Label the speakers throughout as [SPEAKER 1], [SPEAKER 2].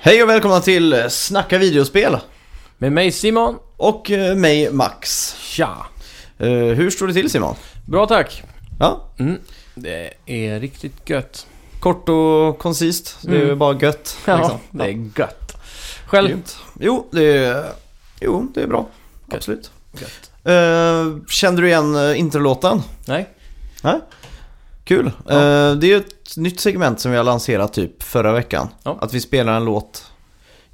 [SPEAKER 1] Hej och välkomna till Snacka videospel
[SPEAKER 2] Med mig Simon.
[SPEAKER 1] och eh, mig Max.
[SPEAKER 2] Tja.
[SPEAKER 1] Eh, hur står det till Simon?
[SPEAKER 2] Bra tack.
[SPEAKER 1] Ja,
[SPEAKER 2] Mm. Det är riktigt gött.
[SPEAKER 1] kort och koncist. Det är ju
[SPEAKER 2] Mm.
[SPEAKER 1] bara gött.
[SPEAKER 2] Ja,
[SPEAKER 1] liksom.
[SPEAKER 2] det är gött. Själv?
[SPEAKER 1] Grymt. Jo, det är, jo, det är bra. Absolut.
[SPEAKER 2] Gött.
[SPEAKER 1] Eh, kände du igen eh, introlåten?
[SPEAKER 2] Nej?
[SPEAKER 1] Kul.
[SPEAKER 2] Ja.
[SPEAKER 1] Eh, det är ju ett nytt segment som vi har lanserat typ förra veckan.
[SPEAKER 2] Ja.
[SPEAKER 1] Att vi spelar en låt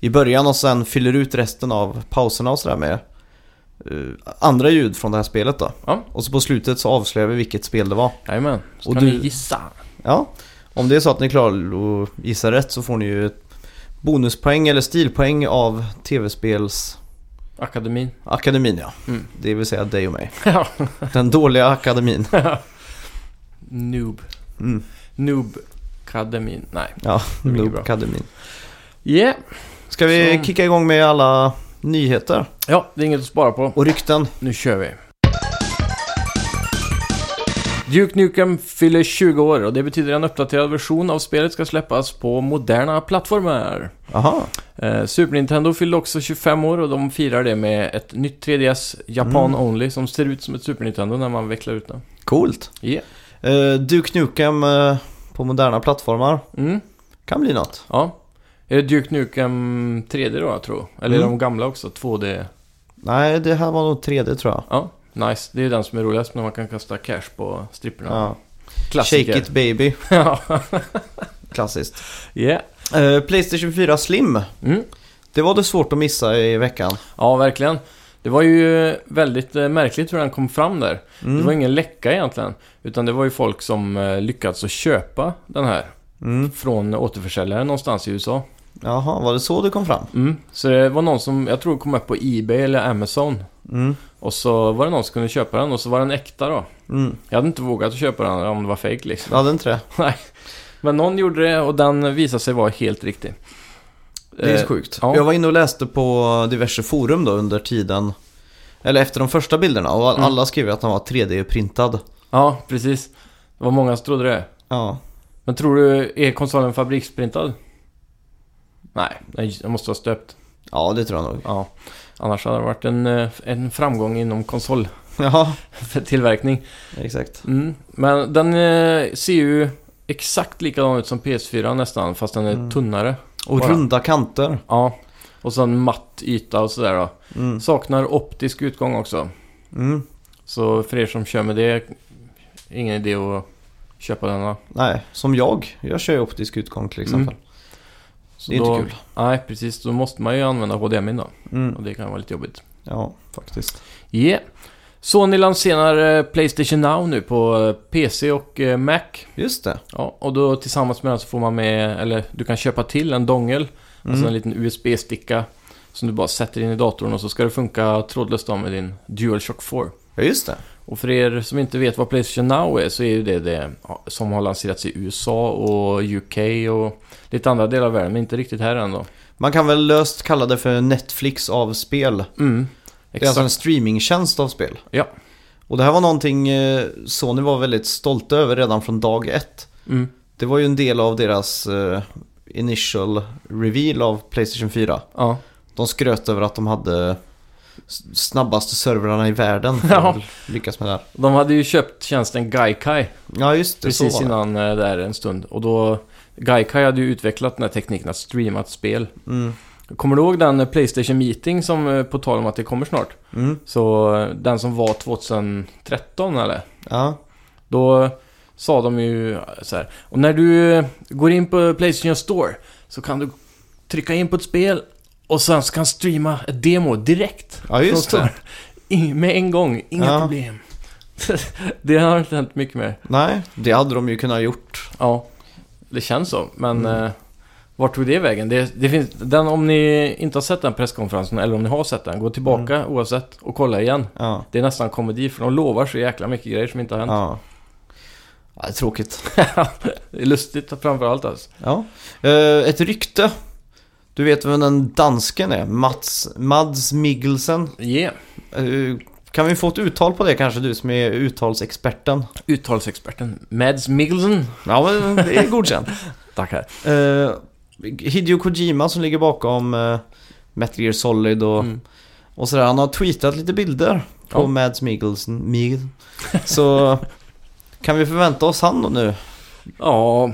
[SPEAKER 1] i början och sen fyller ut resten av pauserna och sådär med eh, andra ljud från det här spelet då.
[SPEAKER 2] Ja.
[SPEAKER 1] Och så på slutet så avslöjar vi vilket spel det var.
[SPEAKER 2] Jajamän. Så
[SPEAKER 1] Och
[SPEAKER 2] kan
[SPEAKER 1] du-
[SPEAKER 2] ni gissa.
[SPEAKER 1] Ja, om det är så att ni klarar att gissa rätt så får ni ju ett bonuspoäng eller stilpoäng av tv-spelsakademin
[SPEAKER 2] Akademin.
[SPEAKER 1] ja.
[SPEAKER 2] Mm.
[SPEAKER 1] Det vill säga dig och mig.
[SPEAKER 2] Ja.
[SPEAKER 1] Den dåliga akademin.
[SPEAKER 2] Noob.
[SPEAKER 1] Mm.
[SPEAKER 2] Noob. Akademin. Nej.
[SPEAKER 1] Ja,
[SPEAKER 2] Det blir bra.
[SPEAKER 1] akademin.
[SPEAKER 2] Yeah.
[SPEAKER 1] Ska vi
[SPEAKER 2] Så-
[SPEAKER 1] kicka igång med alla nyheter
[SPEAKER 2] Ja, det är inget att spara på.
[SPEAKER 1] och rykten?
[SPEAKER 2] Nu kör vi. Duke Nukem fyller 20 år och det betyder en uppdaterad version av spelet ska släppas på moderna plattformar.
[SPEAKER 1] Aha.
[SPEAKER 2] Eh, Super Nintendo fyllde också 25 år och de firar det med ett nytt 3DS Japan
[SPEAKER 1] Mm.
[SPEAKER 2] Only som ser ut som ett Super Nintendo när man vecklar ut den.
[SPEAKER 1] Coolt.
[SPEAKER 2] Yeah.
[SPEAKER 1] Eh, Duke Nukem eh, på moderna plattformar
[SPEAKER 2] Mm,
[SPEAKER 1] kan bli något.
[SPEAKER 2] ja. Är det Duke Nukem 3D då, jag tror? Eller är
[SPEAKER 1] Mm.
[SPEAKER 2] de gamla också? 2D?
[SPEAKER 1] Nej, det här var nog 3D tror jag.
[SPEAKER 2] Ja, nice. Det är ju den som är roligast när man kan kasta cash på stripporna.
[SPEAKER 1] Ja.
[SPEAKER 2] Klassiker.
[SPEAKER 1] Shake it baby,
[SPEAKER 2] ja.
[SPEAKER 1] klassiskt.
[SPEAKER 2] yeah.
[SPEAKER 1] Eh, Playstation 4 Slim,
[SPEAKER 2] mm.
[SPEAKER 1] det var det svårt att missa i veckan.
[SPEAKER 2] ja, verkligen. Det var ju väldigt eh, märkligt hur den kom fram där.
[SPEAKER 1] Mm.
[SPEAKER 2] Det var ingen läcka egentligen. Utan det var ju folk som eh, lyckats att köpa den här.
[SPEAKER 1] Mm.
[SPEAKER 2] från återförsäljare någonstans i USA.
[SPEAKER 1] Jaha, var det så du kom fram?
[SPEAKER 2] Mm. Så det var någon som, jag tror kom upp på Ebay eller Amazon.
[SPEAKER 1] Mm.
[SPEAKER 2] Och så var det någon som kunde köpa den och så var den äkta då.
[SPEAKER 1] Mm.
[SPEAKER 2] Jag hade inte vågat att köpa den om det var fake liksom.
[SPEAKER 1] Jag hade inte det.
[SPEAKER 2] Men någon gjorde det och den visade sig vara helt riktig.
[SPEAKER 1] Det är
[SPEAKER 2] Eh,
[SPEAKER 1] sjukt.
[SPEAKER 2] ja.
[SPEAKER 1] Jag var inne och läste på diverse forum då under tiden, eller efter de första bilderna och alla
[SPEAKER 2] Mm.
[SPEAKER 1] skrev att den var 3D-printad.
[SPEAKER 2] Ja, precis. Det var många som trodde det.
[SPEAKER 1] Ja,
[SPEAKER 2] Men tror du, är konsolen fabriksprintad? Nej, den den måste vara stöpt.
[SPEAKER 1] ja det tror jag nog.
[SPEAKER 2] Ja. Annars hade det varit en, eh, en framgång inom konsoltillverkning.
[SPEAKER 1] Ja, exakt.
[SPEAKER 2] Mm. Men den eh, ser ju exakt likadan ut som PS4 nästan, fast den är
[SPEAKER 1] Mm.
[SPEAKER 2] tunnare.
[SPEAKER 1] Och
[SPEAKER 2] Bara.
[SPEAKER 1] runda kanter.
[SPEAKER 2] Ja. Och så en matt yta och sådär då.
[SPEAKER 1] Mm.
[SPEAKER 2] Saknar optisk utgång också.
[SPEAKER 1] Mm.
[SPEAKER 2] Så för er som kör med det, ingen idé att köpa den va?
[SPEAKER 1] Nej, som jag. Jag kör ju optisk utgång till
[SPEAKER 2] Mm.
[SPEAKER 1] exempel.
[SPEAKER 2] Så
[SPEAKER 1] Det är
[SPEAKER 2] då,
[SPEAKER 1] inte kul.
[SPEAKER 2] Nej, precis. Då måste man ju använda HDMI då.
[SPEAKER 1] Mm.
[SPEAKER 2] Och det kan vara lite jobbigt.
[SPEAKER 1] Ja, faktiskt.
[SPEAKER 2] Yeah. Sony lanserar eh, Playstation Now nu på eh, PC och eh, Mac.
[SPEAKER 1] Just det.
[SPEAKER 2] Ja, och då tillsammans med den så får man med, eller du kan köpa till en dongel
[SPEAKER 1] Mm.
[SPEAKER 2] Alltså en liten USB-sticka som du bara sätter in i datorn och så ska det funka trådlöst då med din DualShock 4.
[SPEAKER 1] Ja, just det.
[SPEAKER 2] Och för er som inte vet vad Playstation Now är så är ju det det ja, som har lanserats i USA och UK och lite andra delar av världen, men inte riktigt här än då.
[SPEAKER 1] Man kan väl löst kalla det för Netflix av spel.
[SPEAKER 2] Mm,
[SPEAKER 1] Det är
[SPEAKER 2] exakt.
[SPEAKER 1] alltså en streamingtjänst av spel.
[SPEAKER 2] Ja.
[SPEAKER 1] Och det här var någonting eh, Sony var väldigt stolta över redan från dag ett.
[SPEAKER 2] Mm,
[SPEAKER 1] Det var ju en del av deras eh, initial reveal av Playstation 4.
[SPEAKER 2] ja.
[SPEAKER 1] De skröt över att de hade s- snabbaste servrarna i världen för
[SPEAKER 2] Ja.
[SPEAKER 1] att lyckas med det här.
[SPEAKER 2] De hade ju köpt tjänsten Gaikai
[SPEAKER 1] Ja, just det.
[SPEAKER 2] precis
[SPEAKER 1] så var
[SPEAKER 2] innan eh, där en stund och då Gaikai hade ju utvecklat den här tekniken att streama ett spel.
[SPEAKER 1] det. Mm.
[SPEAKER 2] Kommer du ihåg den eh, Playstation Meeting som, eh, på tal om att det kommer snart?
[SPEAKER 1] Mm.
[SPEAKER 2] Så eh, den som var 2013 eller?
[SPEAKER 1] Ja.
[SPEAKER 2] Då eh, sa de ju eh, så här. Och när du eh, går in på Playstation Store så kan du trycka in på ett spel och sen så kan streama ett demo direkt.
[SPEAKER 1] ja, just
[SPEAKER 2] från
[SPEAKER 1] det.
[SPEAKER 2] Store. In- Med en gång, inga
[SPEAKER 1] Ja.
[SPEAKER 2] problem. det har inte hänt mycket mer.
[SPEAKER 1] Nej, det hade de ju kunnat gjort.
[SPEAKER 2] Ja, det känns så. Men
[SPEAKER 1] Mm.
[SPEAKER 2] eh, vart tog det vägen? Det, det finns, den, om ni inte har sett den presskonferensen, eller om ni har sett den, gå tillbaka
[SPEAKER 1] Mm.
[SPEAKER 2] oavsett och kolla igen.
[SPEAKER 1] Ja.
[SPEAKER 2] Det är nästan komedi, för de lovar så jäkla mycket grejer som inte har hänt.
[SPEAKER 1] Ja. ja det är tråkigt.
[SPEAKER 2] det är lustigt framförallt alltså.
[SPEAKER 1] Ja. Eh, ett rykte. Du vet vem den dansken är? Mats, Mads Mikkelsen.
[SPEAKER 2] Yeah.
[SPEAKER 1] Eh, kan vi få ett uttal på det kanske, du som är uttalsexperten?
[SPEAKER 2] Uttalsexperten Mads Mikkelsen.
[SPEAKER 1] Ja, men det är godkänt.
[SPEAKER 2] Tack här.
[SPEAKER 1] Eh, Hideo Kojima som ligger bakom eh, Metal Gear Solid och,
[SPEAKER 2] Mm.
[SPEAKER 1] och sådär. Han har tweetat lite bilder på
[SPEAKER 2] Ja.
[SPEAKER 1] Mads Mikkelsen. Mikkel. Så kan vi förvänta oss han då nu?
[SPEAKER 2] Ja,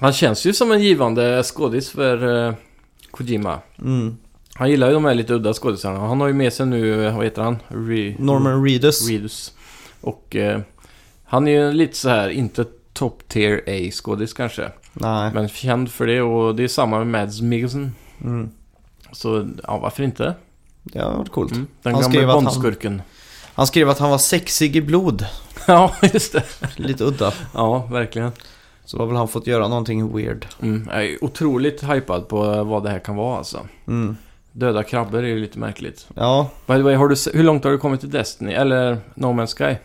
[SPEAKER 2] han känns ju som en givande skådis för eh, Kojima.
[SPEAKER 1] Mm.
[SPEAKER 2] Han gillar ju de här lite udda skådisarna. Han har ju med sig nu, eh, vad heter han? Mm. Re-
[SPEAKER 1] Norman Reedus.
[SPEAKER 2] Reedus. Och eh, han är ju lite så här, inte top tier A-skådis kanske.
[SPEAKER 1] Nej.
[SPEAKER 2] Men känd för det och det är samma med Mads Mikkelsen.
[SPEAKER 1] Mm.
[SPEAKER 2] Så ja, varför inte?
[SPEAKER 1] Det har varit coolt.
[SPEAKER 2] Mm. Den
[SPEAKER 1] Han skrev att
[SPEAKER 2] gamla
[SPEAKER 1] han-
[SPEAKER 2] Bondskurken.
[SPEAKER 1] Han skrev att han var sexig i blod.
[SPEAKER 2] ja, just det.
[SPEAKER 1] Lite udda.
[SPEAKER 2] Ja, verkligen.
[SPEAKER 1] Så har väl han fått göra någonting weird.
[SPEAKER 2] Mm. Jag är otroligt hypad på vad det här kan vara alltså.
[SPEAKER 1] Mm.
[SPEAKER 2] Döda krabbor är ju lite märkligt.
[SPEAKER 1] Ja,
[SPEAKER 2] By the way, har du, se- hur långt har du kommit i Destiny? Eller No Man's Sky?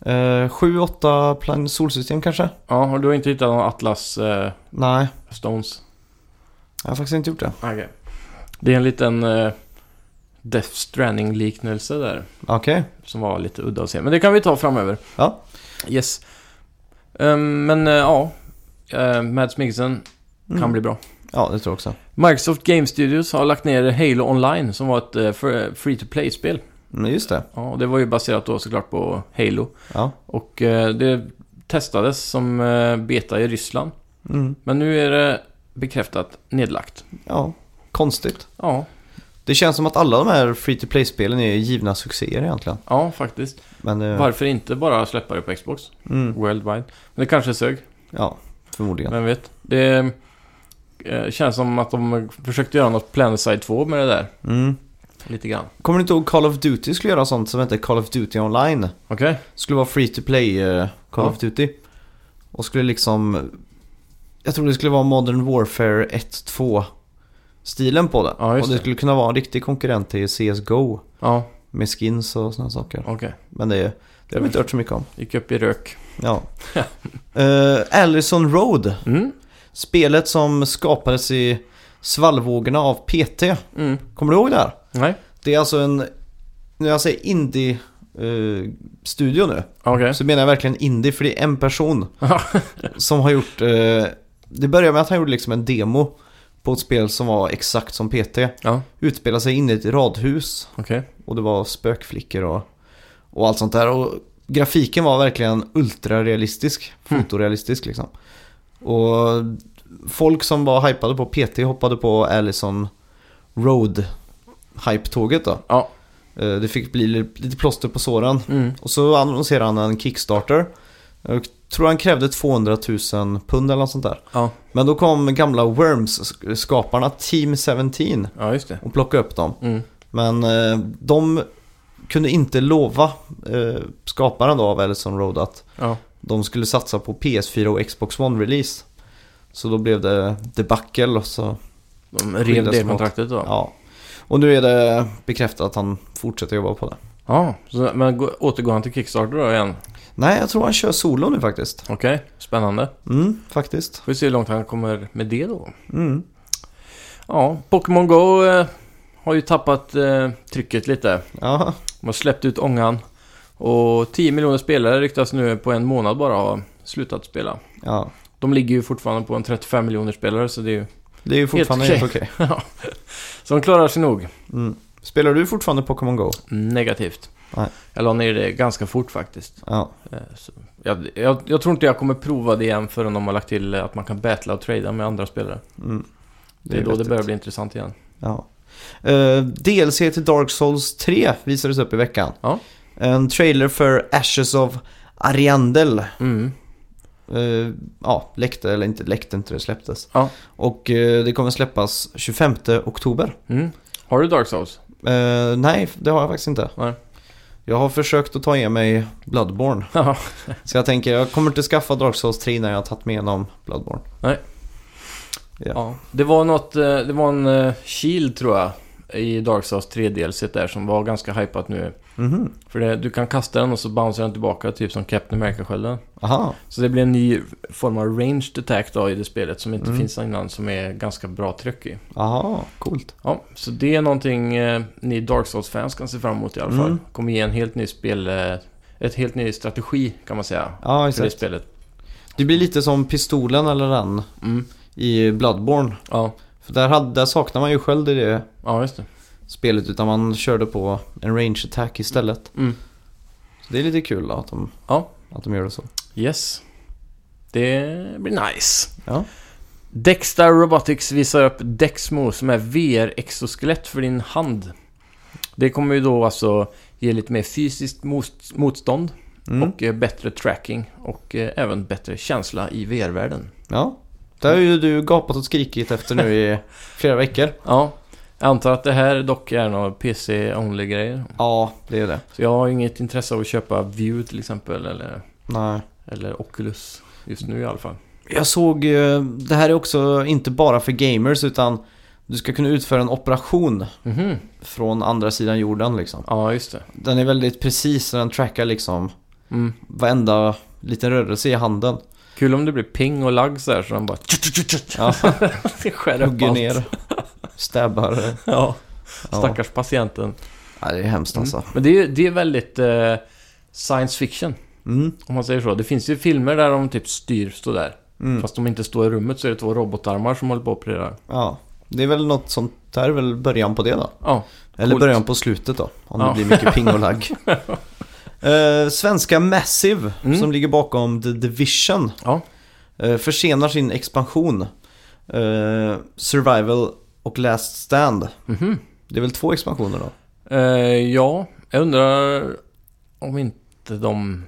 [SPEAKER 1] eh, sju, åtta plan- solsystem kanske?
[SPEAKER 2] Ja, och du har inte hittat någon Atlas eh,
[SPEAKER 1] Nej,
[SPEAKER 2] Stones?
[SPEAKER 1] jag har faktiskt inte gjort det.
[SPEAKER 2] Okej. Det är en liten eh, Death Stranding-liknelse där.
[SPEAKER 1] Okej.
[SPEAKER 2] Som var lite udda att se. Men det kan vi ta framöver.
[SPEAKER 1] Ja.
[SPEAKER 2] Yes. Ehm, men eh, ja, uh, Mads Mikkelsen
[SPEAKER 1] Mm.
[SPEAKER 2] kan bli bra.
[SPEAKER 1] Ja, det tror jag också.
[SPEAKER 2] Microsoft Game Studios har lagt ner Halo Online som var ett uh, free-to-play-spel.
[SPEAKER 1] Mm, just det.
[SPEAKER 2] Ja, och det var ju baserat då såklart på Halo.
[SPEAKER 1] Ja.
[SPEAKER 2] Och eh, det testades som eh, beta i Ryssland.
[SPEAKER 1] Mm.
[SPEAKER 2] Men nu är det bekräftat nedlagt.
[SPEAKER 1] Ja, konstigt.
[SPEAKER 2] Ja,
[SPEAKER 1] Det känns som att alla de här free to play-spelen är givna succéer egentligen.
[SPEAKER 2] ja faktiskt.
[SPEAKER 1] Men eh,
[SPEAKER 2] Varför inte bara släppa det på Xbox?
[SPEAKER 1] mm,
[SPEAKER 2] Worldwide. Men det kanske sög.
[SPEAKER 1] ja, förmodligen.
[SPEAKER 2] Vem vet? Det eh, känns som att de försökte göra något Planetside 2 med det där.
[SPEAKER 1] Mm.
[SPEAKER 2] Lite grann.
[SPEAKER 1] Kommer du inte ihåg Call of Duty skulle göra sånt som hette Call of Duty Online?
[SPEAKER 2] Okej.
[SPEAKER 1] Skulle vara free to play eh, Call
[SPEAKER 2] Ja.
[SPEAKER 1] of Duty. Och skulle liksom... Jag tror det skulle vara Modern Warfare 1-2 stilen på det.
[SPEAKER 2] Ja, just
[SPEAKER 1] och det
[SPEAKER 2] det.
[SPEAKER 1] skulle kunna vara en riktig konkurrent till CSGO
[SPEAKER 2] Ja,
[SPEAKER 1] med skins och sådana saker.
[SPEAKER 2] okej.
[SPEAKER 1] Men det, det har vi inte hört så mycket om.
[SPEAKER 2] Gick upp i rök.
[SPEAKER 1] Ja. Eh, Allison Road.
[SPEAKER 2] Mm.
[SPEAKER 1] Spelet som skapades i svallvågorna av PT.
[SPEAKER 2] Mm.
[SPEAKER 1] Kommer du ihåg det här?
[SPEAKER 2] Nej.
[SPEAKER 1] Det är alltså en, när jag säger indie-studio nu,
[SPEAKER 2] Okej.
[SPEAKER 1] så menar jag verkligen indie för det är en person
[SPEAKER 2] Eh? Ja.
[SPEAKER 1] som har gjort, eh, det började med att han gjorde liksom en demo på ett spel som var exakt som PT.
[SPEAKER 2] Ja,
[SPEAKER 1] Utspelade sig inne i ett radhus
[SPEAKER 2] okej.
[SPEAKER 1] och det var spökflickor och, och allt sånt där. Och grafiken var verkligen ultrarealistisk,
[SPEAKER 2] Mm.
[SPEAKER 1] fotorealistisk liksom. Och folk som var hypade på PT hoppade på Allison Road hype-tåget då.
[SPEAKER 2] Ja.
[SPEAKER 1] Eh, Det fick bli li- lite plåster på såren.
[SPEAKER 2] Mm.
[SPEAKER 1] Och så annonserade han en Kickstarter. Jag tror han krävde 200 000 pund eller något sånt där.
[SPEAKER 2] Ja.
[SPEAKER 1] Men då kom gamla Worms-skaparna Team 17
[SPEAKER 2] ja, just det.
[SPEAKER 1] och plockade upp dem.
[SPEAKER 2] Mm.
[SPEAKER 1] Men eh, de kunde inte lova eh, skaparen då av Ellison Road att
[SPEAKER 2] Ja.
[SPEAKER 1] de skulle satsa på PS4 och Xbox One-release. Så då blev det debacle och så,
[SPEAKER 2] De
[SPEAKER 1] Skilda
[SPEAKER 2] rev det
[SPEAKER 1] smått.
[SPEAKER 2] kontraktet då. Ja.
[SPEAKER 1] ja. Och nu är det bekräftat att han fortsätter jobba på det.
[SPEAKER 2] så, men gå, återgår han till Kickstarter då igen?
[SPEAKER 1] Nej, jag tror han kör solo nu faktiskt.
[SPEAKER 2] Okej, spännande.
[SPEAKER 1] Mm, faktiskt.
[SPEAKER 2] Får vi se hur långt han kommer med det då.
[SPEAKER 1] Mm.
[SPEAKER 2] Ja, Pokémon Go eh, har ju tappat eh, trycket lite.
[SPEAKER 1] Ja,
[SPEAKER 2] De har släppt ut ångan. Och 10 miljoner spelare ryktas nu på en månad bara ha slutat spela.
[SPEAKER 1] ja.
[SPEAKER 2] De ligger ju fortfarande på en 35 miljoner spelare så det är ju...
[SPEAKER 1] Det är ju fortfarande
[SPEAKER 2] okej.
[SPEAKER 1] helt okej.
[SPEAKER 2] Ja. så de klarar sig nog.
[SPEAKER 1] Mm. Spelar du fortfarande Pokémon Go?
[SPEAKER 2] Negativt.
[SPEAKER 1] Nej.
[SPEAKER 2] Jag la ner det ganska fort faktiskt.
[SPEAKER 1] Ja.
[SPEAKER 2] Eh, Så jag, jag, jag tror inte jag kommer prova det igen förrän de har lagt till eh, att man kan battla och trada med andra spelare.
[SPEAKER 1] Mm.
[SPEAKER 2] Det är, då
[SPEAKER 1] vettigt.
[SPEAKER 2] det börjar bli intressant igen.
[SPEAKER 1] Ja. Eh, DLC till Dark Souls 3 visades upp i veckan.
[SPEAKER 2] Ja.
[SPEAKER 1] En trailer för Ashes of Ariandel.
[SPEAKER 2] Mm.
[SPEAKER 1] eh, ja, läckte, eller inte läckte inte, det släpptes.
[SPEAKER 2] Ja.
[SPEAKER 1] Och eh, det kommer släppas 25 oktober.
[SPEAKER 2] Mm. Har du Dark Souls?
[SPEAKER 1] Eh, nej, det har jag faktiskt inte.
[SPEAKER 2] Nej.
[SPEAKER 1] Jag har försökt att ta igen mig Bloodborne.
[SPEAKER 2] Ja.
[SPEAKER 1] Så jag tänker, jag kommer inte skaffa Dark Souls 3 när jag har tagit mig igenom Bloodborne. Ja.
[SPEAKER 2] Ja, det var något, eh, det var en eh, shield tror jag i Dark Souls 3 DLC där som var ganska hypat nu.
[SPEAKER 1] Mhm,
[SPEAKER 2] För det, du kan kasta den och så bouncear den tillbaka, typ som Captain America-skölden.
[SPEAKER 1] aha.
[SPEAKER 2] Så det blir en ny form av ranged attack då i det spelet som inte
[SPEAKER 1] Mm.
[SPEAKER 2] finns innan, som är ganska bra tryck i.
[SPEAKER 1] Aha, coolt.
[SPEAKER 2] Ja, så det är någonting eh, ni Dark Souls-fans kan se fram emot i alla fall.
[SPEAKER 1] Mm.
[SPEAKER 2] Kommer ge en helt ny spel, eh, ett helt ny strategi kan man säga.
[SPEAKER 1] Ja,
[SPEAKER 2] För det
[SPEAKER 1] exakt.
[SPEAKER 2] spelet.
[SPEAKER 1] Det blir lite som pistolen eller den
[SPEAKER 2] Mm.
[SPEAKER 1] i i Bloodborne.
[SPEAKER 2] Ja,
[SPEAKER 1] För där, hade, där saknade man ju sköld i det
[SPEAKER 2] ja just det.
[SPEAKER 1] spelet utan man körde på en range attack istället.
[SPEAKER 2] Mm.
[SPEAKER 1] Så det är lite kul då, att, de,
[SPEAKER 2] Ja.
[SPEAKER 1] att de gör det så.
[SPEAKER 2] Yes. Det blir nice.
[SPEAKER 1] Ja.
[SPEAKER 2] Dexter Robotics visar upp Dexmo som är VR-exoskelett för din hand. Det kommer ju då alltså ge lite mer fysiskt mos- motstånd
[SPEAKER 1] Mm.
[SPEAKER 2] och eh, bättre tracking och eh, även bättre känsla i VR-världen.
[SPEAKER 1] Ja. Det har ju du gapat och skrikit efter nu i flera veckor.
[SPEAKER 2] Ja, jag antar att det här dock är några PC-only-grejer.
[SPEAKER 1] Ja, det är det.
[SPEAKER 2] Så jag har inget intresse av att köpa View till exempel eller,
[SPEAKER 1] Nej.
[SPEAKER 2] eller Oculus just nu i alla fall.
[SPEAKER 1] Jag såg, eh, det här är också inte bara för gamers utan du ska kunna utföra en operation
[SPEAKER 2] Mhm,
[SPEAKER 1] från andra sidan jorden liksom.
[SPEAKER 2] Ja, just det.
[SPEAKER 1] Den är väldigt precis så den trackar liksom
[SPEAKER 2] Mm.
[SPEAKER 1] varenda liten rörelse i handen.
[SPEAKER 2] Kul om det blir ping och lagg så här så han bara
[SPEAKER 1] Ja,
[SPEAKER 2] skär upp
[SPEAKER 1] hugger
[SPEAKER 2] allt.
[SPEAKER 1] ner, stabbar.
[SPEAKER 2] Ja,
[SPEAKER 1] Ja.
[SPEAKER 2] stackars patienten.
[SPEAKER 1] ja, det är hemskt Mm. alltså.
[SPEAKER 2] Men det är, det är väldigt eh, science fiction,
[SPEAKER 1] Mm.
[SPEAKER 2] om man säger så. Det finns ju filmer där de typ styr sådär.
[SPEAKER 1] Mm.
[SPEAKER 2] Fast de inte står i rummet så är det två robotarmar som håller på och opererar.
[SPEAKER 1] Ja, det är väl något sånt. Det här är väl början på det då.
[SPEAKER 2] Ja,
[SPEAKER 1] Eller
[SPEAKER 2] Coolt.
[SPEAKER 1] början på slutet då, om det
[SPEAKER 2] Ja.
[SPEAKER 1] blir mycket ping och lagg. Eh, svenska Massive,
[SPEAKER 2] Mm.
[SPEAKER 1] som ligger bakom The Division,
[SPEAKER 2] Ja.
[SPEAKER 1] eh, försenar sin expansion. eh, Survival och Last Stand.
[SPEAKER 2] mhm.
[SPEAKER 1] Det är väl två expansioner då?
[SPEAKER 2] Eh, ja, jag undrar om inte de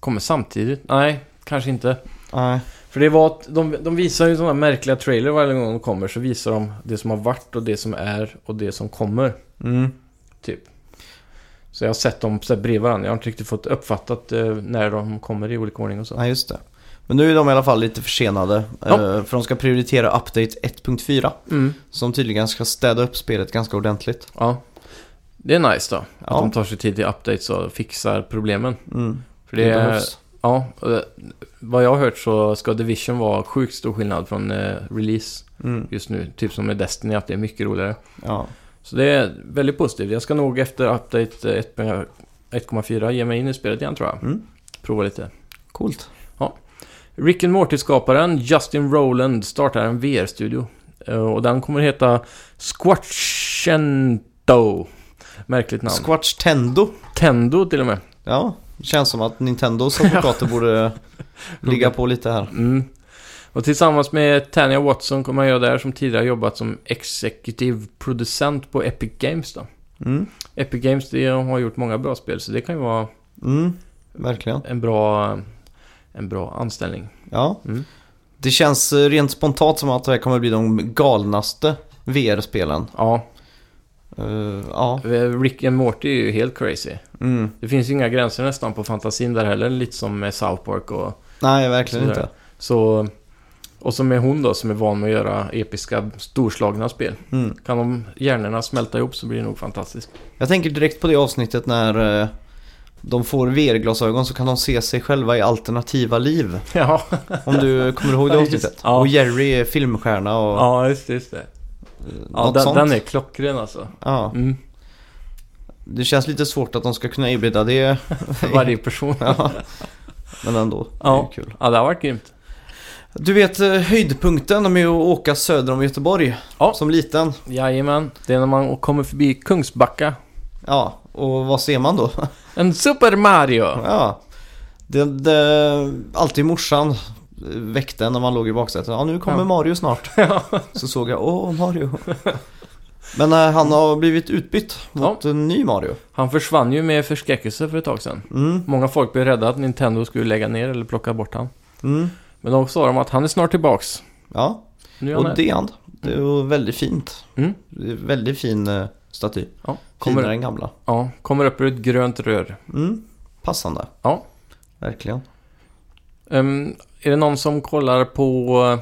[SPEAKER 2] kommer samtidigt. Nej, kanske inte.
[SPEAKER 1] Nej.
[SPEAKER 2] För det var att de, de visar ju sådana märkliga trailer varje gång de kommer. Så visar de det som har varit och det som är och det som kommer.
[SPEAKER 1] Mm.
[SPEAKER 2] Typ. Så jag har sett dem så här bredvid varandra. Jag har inte riktigt fått uppfattat eh, när de kommer i olika ordning och så.
[SPEAKER 1] Nej, just det. Men nu är de i alla fall lite försenade. eh,
[SPEAKER 2] Ja.
[SPEAKER 1] För de ska prioritera Update 1.4.
[SPEAKER 2] Mm.
[SPEAKER 1] Som tydligen ska städa upp spelet ganska ordentligt.
[SPEAKER 2] Ja. Det är nice då. Att
[SPEAKER 1] Ja.
[SPEAKER 2] de tar sig tid till updates och fixar problemen.
[SPEAKER 1] Mm.
[SPEAKER 2] För det är...
[SPEAKER 1] behövs.
[SPEAKER 2] Ja. och det- Vad jag har hört så ska Division vara sjukt stor skillnad från eh, release
[SPEAKER 1] Mm.
[SPEAKER 2] just nu. Typ som med Destiny, att det är mycket roligare.
[SPEAKER 1] Ja.
[SPEAKER 2] Så det är väldigt positivt. Jag ska nog efter update eh, 1.0 1,4 ge mig in i spelet igen tror jag.
[SPEAKER 1] Mm.
[SPEAKER 2] Prova lite.
[SPEAKER 1] Coolt.
[SPEAKER 2] Rick and Morty-skaparen Justin Rowland startar en VR-studio. Eh, Och den kommer heta Squatchento. Märkligt namn.
[SPEAKER 1] Squatch Tendo.
[SPEAKER 2] Tendo till och med.
[SPEAKER 1] Ja, det känns som att Nintendos advokater borde ligga på lite här.
[SPEAKER 2] Mm. Och tillsammans med Tanya Watson kommer jag göra det här som tidigare jobbat som executive producent på Epic Games då.
[SPEAKER 1] Mm,
[SPEAKER 2] Epic Games det har gjort många bra spel så det kan ju vara
[SPEAKER 1] mm verkligen.
[SPEAKER 2] en bra, en bra anställning.
[SPEAKER 1] Ja.
[SPEAKER 2] Mm.
[SPEAKER 1] Det känns eh, rent spontant som att det här kommer bli de galnaste VR-spelen.
[SPEAKER 2] Ja,
[SPEAKER 1] Eh, ja.
[SPEAKER 2] Rick and Morty är ju helt crazy.
[SPEAKER 1] Mm.
[SPEAKER 2] Det finns ju inga gränser nästan på fantasin där heller, lite som med South Park och
[SPEAKER 1] Nej, verkligen
[SPEAKER 2] Sådär.
[SPEAKER 1] inte.
[SPEAKER 2] så. Och som med hon då, som är van med att göra episka, storslagna spel.
[SPEAKER 1] Mm.
[SPEAKER 2] Kan de hjärnorna smälta ihop så blir det nog fantastiskt.
[SPEAKER 1] Jag tänker direkt på det avsnittet när eh, de får VR-glasögon så kan de se sig själva i alternativa liv.
[SPEAKER 2] Ja,
[SPEAKER 1] Om du kommer ihåg det
[SPEAKER 2] Ja, just-
[SPEAKER 1] avsnittet.
[SPEAKER 2] ja.
[SPEAKER 1] Och Jerry är filmstjärna och ja,
[SPEAKER 2] ja just det. Just det. Ja,
[SPEAKER 1] något
[SPEAKER 2] den,
[SPEAKER 1] sånt.
[SPEAKER 2] den är klockren alltså.
[SPEAKER 1] Ja.
[SPEAKER 2] Mm.
[SPEAKER 1] Det känns lite svårt att de ska kunna erbjuda det.
[SPEAKER 2] För varje person.
[SPEAKER 1] Ja. Men ändå, det är ju
[SPEAKER 2] Ja.
[SPEAKER 1] kul.
[SPEAKER 2] Ja, det har varit grymt.
[SPEAKER 1] Du vet eh, höjdpunkten med att åka söder om Göteborg
[SPEAKER 2] Ja.
[SPEAKER 1] som liten.
[SPEAKER 2] Jajamän, det är när man kommer förbi Kungsbacka.
[SPEAKER 1] Ja, och vad ser man då?
[SPEAKER 2] En Super Mario!
[SPEAKER 1] Ja. Det, det, alltid morsan eh, väckte en när man låg i baksätet. Ja, nu kommer
[SPEAKER 2] Ja.
[SPEAKER 1] Mario snart. Så såg jag, åh Mario. Men eh, han har blivit utbytt mot en ny Mario.
[SPEAKER 2] Han försvann ju med förskräckelse för ett tag sedan.
[SPEAKER 1] Mm,
[SPEAKER 2] Många folk blev rädda att Nintendo skulle lägga ner eller plocka bort han.
[SPEAKER 1] mm,
[SPEAKER 2] Men de sa de att han är snart tillbaks.
[SPEAKER 1] ja.
[SPEAKER 2] Nu är han
[SPEAKER 1] Och
[SPEAKER 2] här.
[SPEAKER 1] det är han. Det var väldigt fint.
[SPEAKER 2] Mm.
[SPEAKER 1] Det är Väldigt fin eh, staty.
[SPEAKER 2] Ja,
[SPEAKER 1] Finare
[SPEAKER 2] kommer,
[SPEAKER 1] än gamla.
[SPEAKER 2] ja, kommer upp ur ett grönt rör.
[SPEAKER 1] Mm, passande.
[SPEAKER 2] Ja.
[SPEAKER 1] Verkligen.
[SPEAKER 2] Ehm, är det någon som kollar på eh,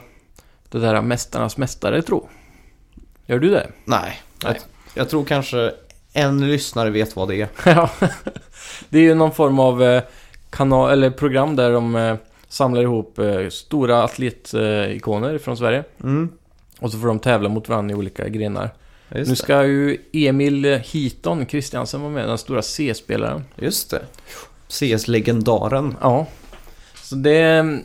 [SPEAKER 2] det där Mästarnas Mästare tro? Gör du det?
[SPEAKER 1] Nej.
[SPEAKER 2] Nej.
[SPEAKER 1] Jag, jag tror kanske en lyssnare vet vad det är.
[SPEAKER 2] Ja. det är ju någon form av eh, kanal, eller program där de eh, samlar ihop eh, stora atletikoner från Sverige.
[SPEAKER 1] Mm.
[SPEAKER 2] Och så får de tävla mot varandra i olika grenar.
[SPEAKER 1] Just,
[SPEAKER 2] nu ska ju Emil Hiton Kristiansen vara med, den stora C-spelaren.
[SPEAKER 1] det. Just det. CS-legendaren.
[SPEAKER 2] Ja. Så det... ehm,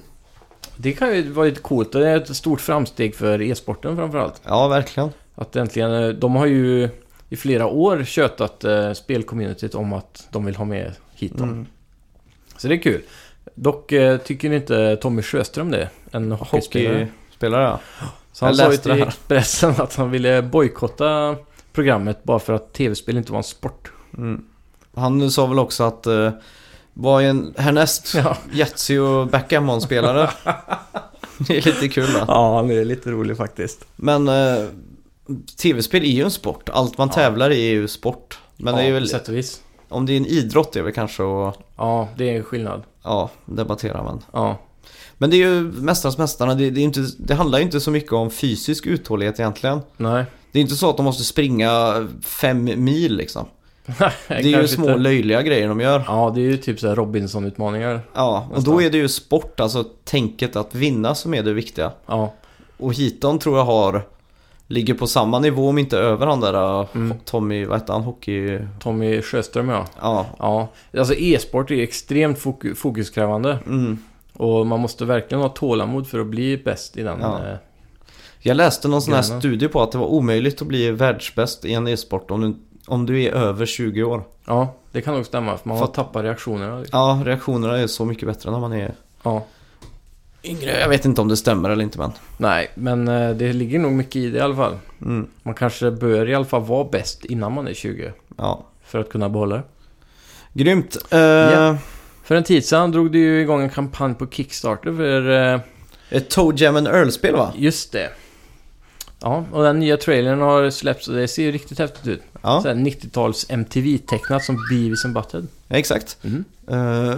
[SPEAKER 2] Det kan ju vara lite coolt. Det är ett stort framsteg för e-sporten framförallt.
[SPEAKER 1] Ja, verkligen.
[SPEAKER 2] Att äntligen, eh, de har ju i flera år tjötat eh, spelcommunityt om att de vill ha med hit dem.
[SPEAKER 1] Mm.
[SPEAKER 2] Så det är kul. Dock eh, tycker inte Tommy Sjöström det, en hockeyspelare.
[SPEAKER 1] Hockeyspelare, ja.
[SPEAKER 2] Så han
[SPEAKER 1] Jag
[SPEAKER 2] sa ju
[SPEAKER 1] läste det
[SPEAKER 2] till
[SPEAKER 1] här.
[SPEAKER 2] Expressen att han ville bojkotta programmet bara för att tv-spel inte var en sport.
[SPEAKER 1] Mm. Han sa väl också att eh, vad är en, härnäst
[SPEAKER 2] Ja,
[SPEAKER 1] Jetsy och Backgammon-spelare. det är lite kul va?
[SPEAKER 2] ja han är lite rolig faktiskt.
[SPEAKER 1] Men eh, tv-spel är ju en sport. Allt man
[SPEAKER 2] Ja.
[SPEAKER 1] tävlar i är ju sport. Men det är väl,
[SPEAKER 2] På sätt och vis.
[SPEAKER 1] om det är en idrott det är väl kanske att
[SPEAKER 2] Ja, det är en skillnad.
[SPEAKER 1] ja, debattera. Men,
[SPEAKER 2] Ja,
[SPEAKER 1] men det är ju Mästarnas Mästarna. Det, det, är inte, det handlar ju inte så mycket om fysisk uthållighet egentligen.
[SPEAKER 2] nej.
[SPEAKER 1] Det är inte så att de måste springa fem mil liksom.
[SPEAKER 2] Det
[SPEAKER 1] Det är ju små löjliga grejer de gör.
[SPEAKER 2] Ja, det är ju typ så här Robinson-utmaningar.
[SPEAKER 1] Ja, och då
[SPEAKER 2] Nästan.
[SPEAKER 1] är det ju sport, alltså tänket att vinna som är det viktiga.
[SPEAKER 2] Ja,
[SPEAKER 1] Och Hiton tror jag har Ligger på samma nivå om inte över han där eh,
[SPEAKER 2] Mm.
[SPEAKER 1] Tommy, vad hette han, hockey...
[SPEAKER 2] Tommy Sjöström ja.
[SPEAKER 1] Ja.
[SPEAKER 2] Ja, alltså e-sport är extremt fok- fokuskrävande.
[SPEAKER 1] Mm.
[SPEAKER 2] Och man måste verkligen ha tålamod för att bli bäst i den.
[SPEAKER 1] Ja.
[SPEAKER 2] eh,
[SPEAKER 1] Jag läste någon sån här
[SPEAKER 2] Gärna.
[SPEAKER 1] studie på att det var omöjligt att bli världsbäst i en e-sport om du, om du är över 20 år.
[SPEAKER 2] ja det kan nog stämma. För man har
[SPEAKER 1] Fatt-
[SPEAKER 2] tappat reaktionerna.
[SPEAKER 1] Ja, reaktionerna är så mycket bättre när man är
[SPEAKER 2] Ja.
[SPEAKER 1] yngre. Jag vet inte om det stämmer eller inte men.
[SPEAKER 2] Nej, men eh, det ligger nog mycket i det i alla fall.
[SPEAKER 1] Mm.
[SPEAKER 2] Man kanske bör i alla fall vara bäst innan man är 20.
[SPEAKER 1] Ja.
[SPEAKER 2] För att kunna behålla det.
[SPEAKER 1] Grymt. Eh,
[SPEAKER 2] Ja. För en tid sedan drog du ju igång en kampanj på Kickstarter för... eh,
[SPEAKER 1] Ett Toe Jam and Earl-spel va?
[SPEAKER 2] Just det. Ja, och den nya trailern har släppts och det ser ju riktigt häftigt ut.
[SPEAKER 1] Ja,
[SPEAKER 2] Så här 90-tals MTV-tecknat som Beavis and Butthead.
[SPEAKER 1] exakt.
[SPEAKER 2] Mm.
[SPEAKER 1] Eh,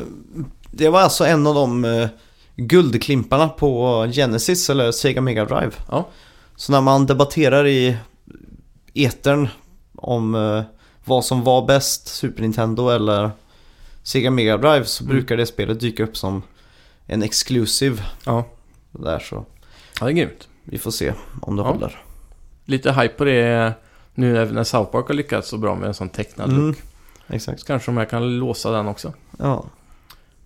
[SPEAKER 1] det var alltså en av de eh, guldklimparna på Genesis eller Sega Mega Drive.
[SPEAKER 2] Ja.
[SPEAKER 1] Så när man debatterar i etern om eh, vad som var bäst, Super Nintendo eller Sega Mega Drive så
[SPEAKER 2] Mm.
[SPEAKER 1] brukar det spelet dyka upp som en exclusive.
[SPEAKER 2] Ja.
[SPEAKER 1] Där så
[SPEAKER 2] ja, det är grymt.
[SPEAKER 1] vi får se om det
[SPEAKER 2] Ja.
[SPEAKER 1] håller.
[SPEAKER 2] Lite hype på det nu när när South Park har lyckats så bra med en sån tecknad look.
[SPEAKER 1] Mm, exakt.
[SPEAKER 2] Så kanske de här kan låsa den också.
[SPEAKER 1] Ja.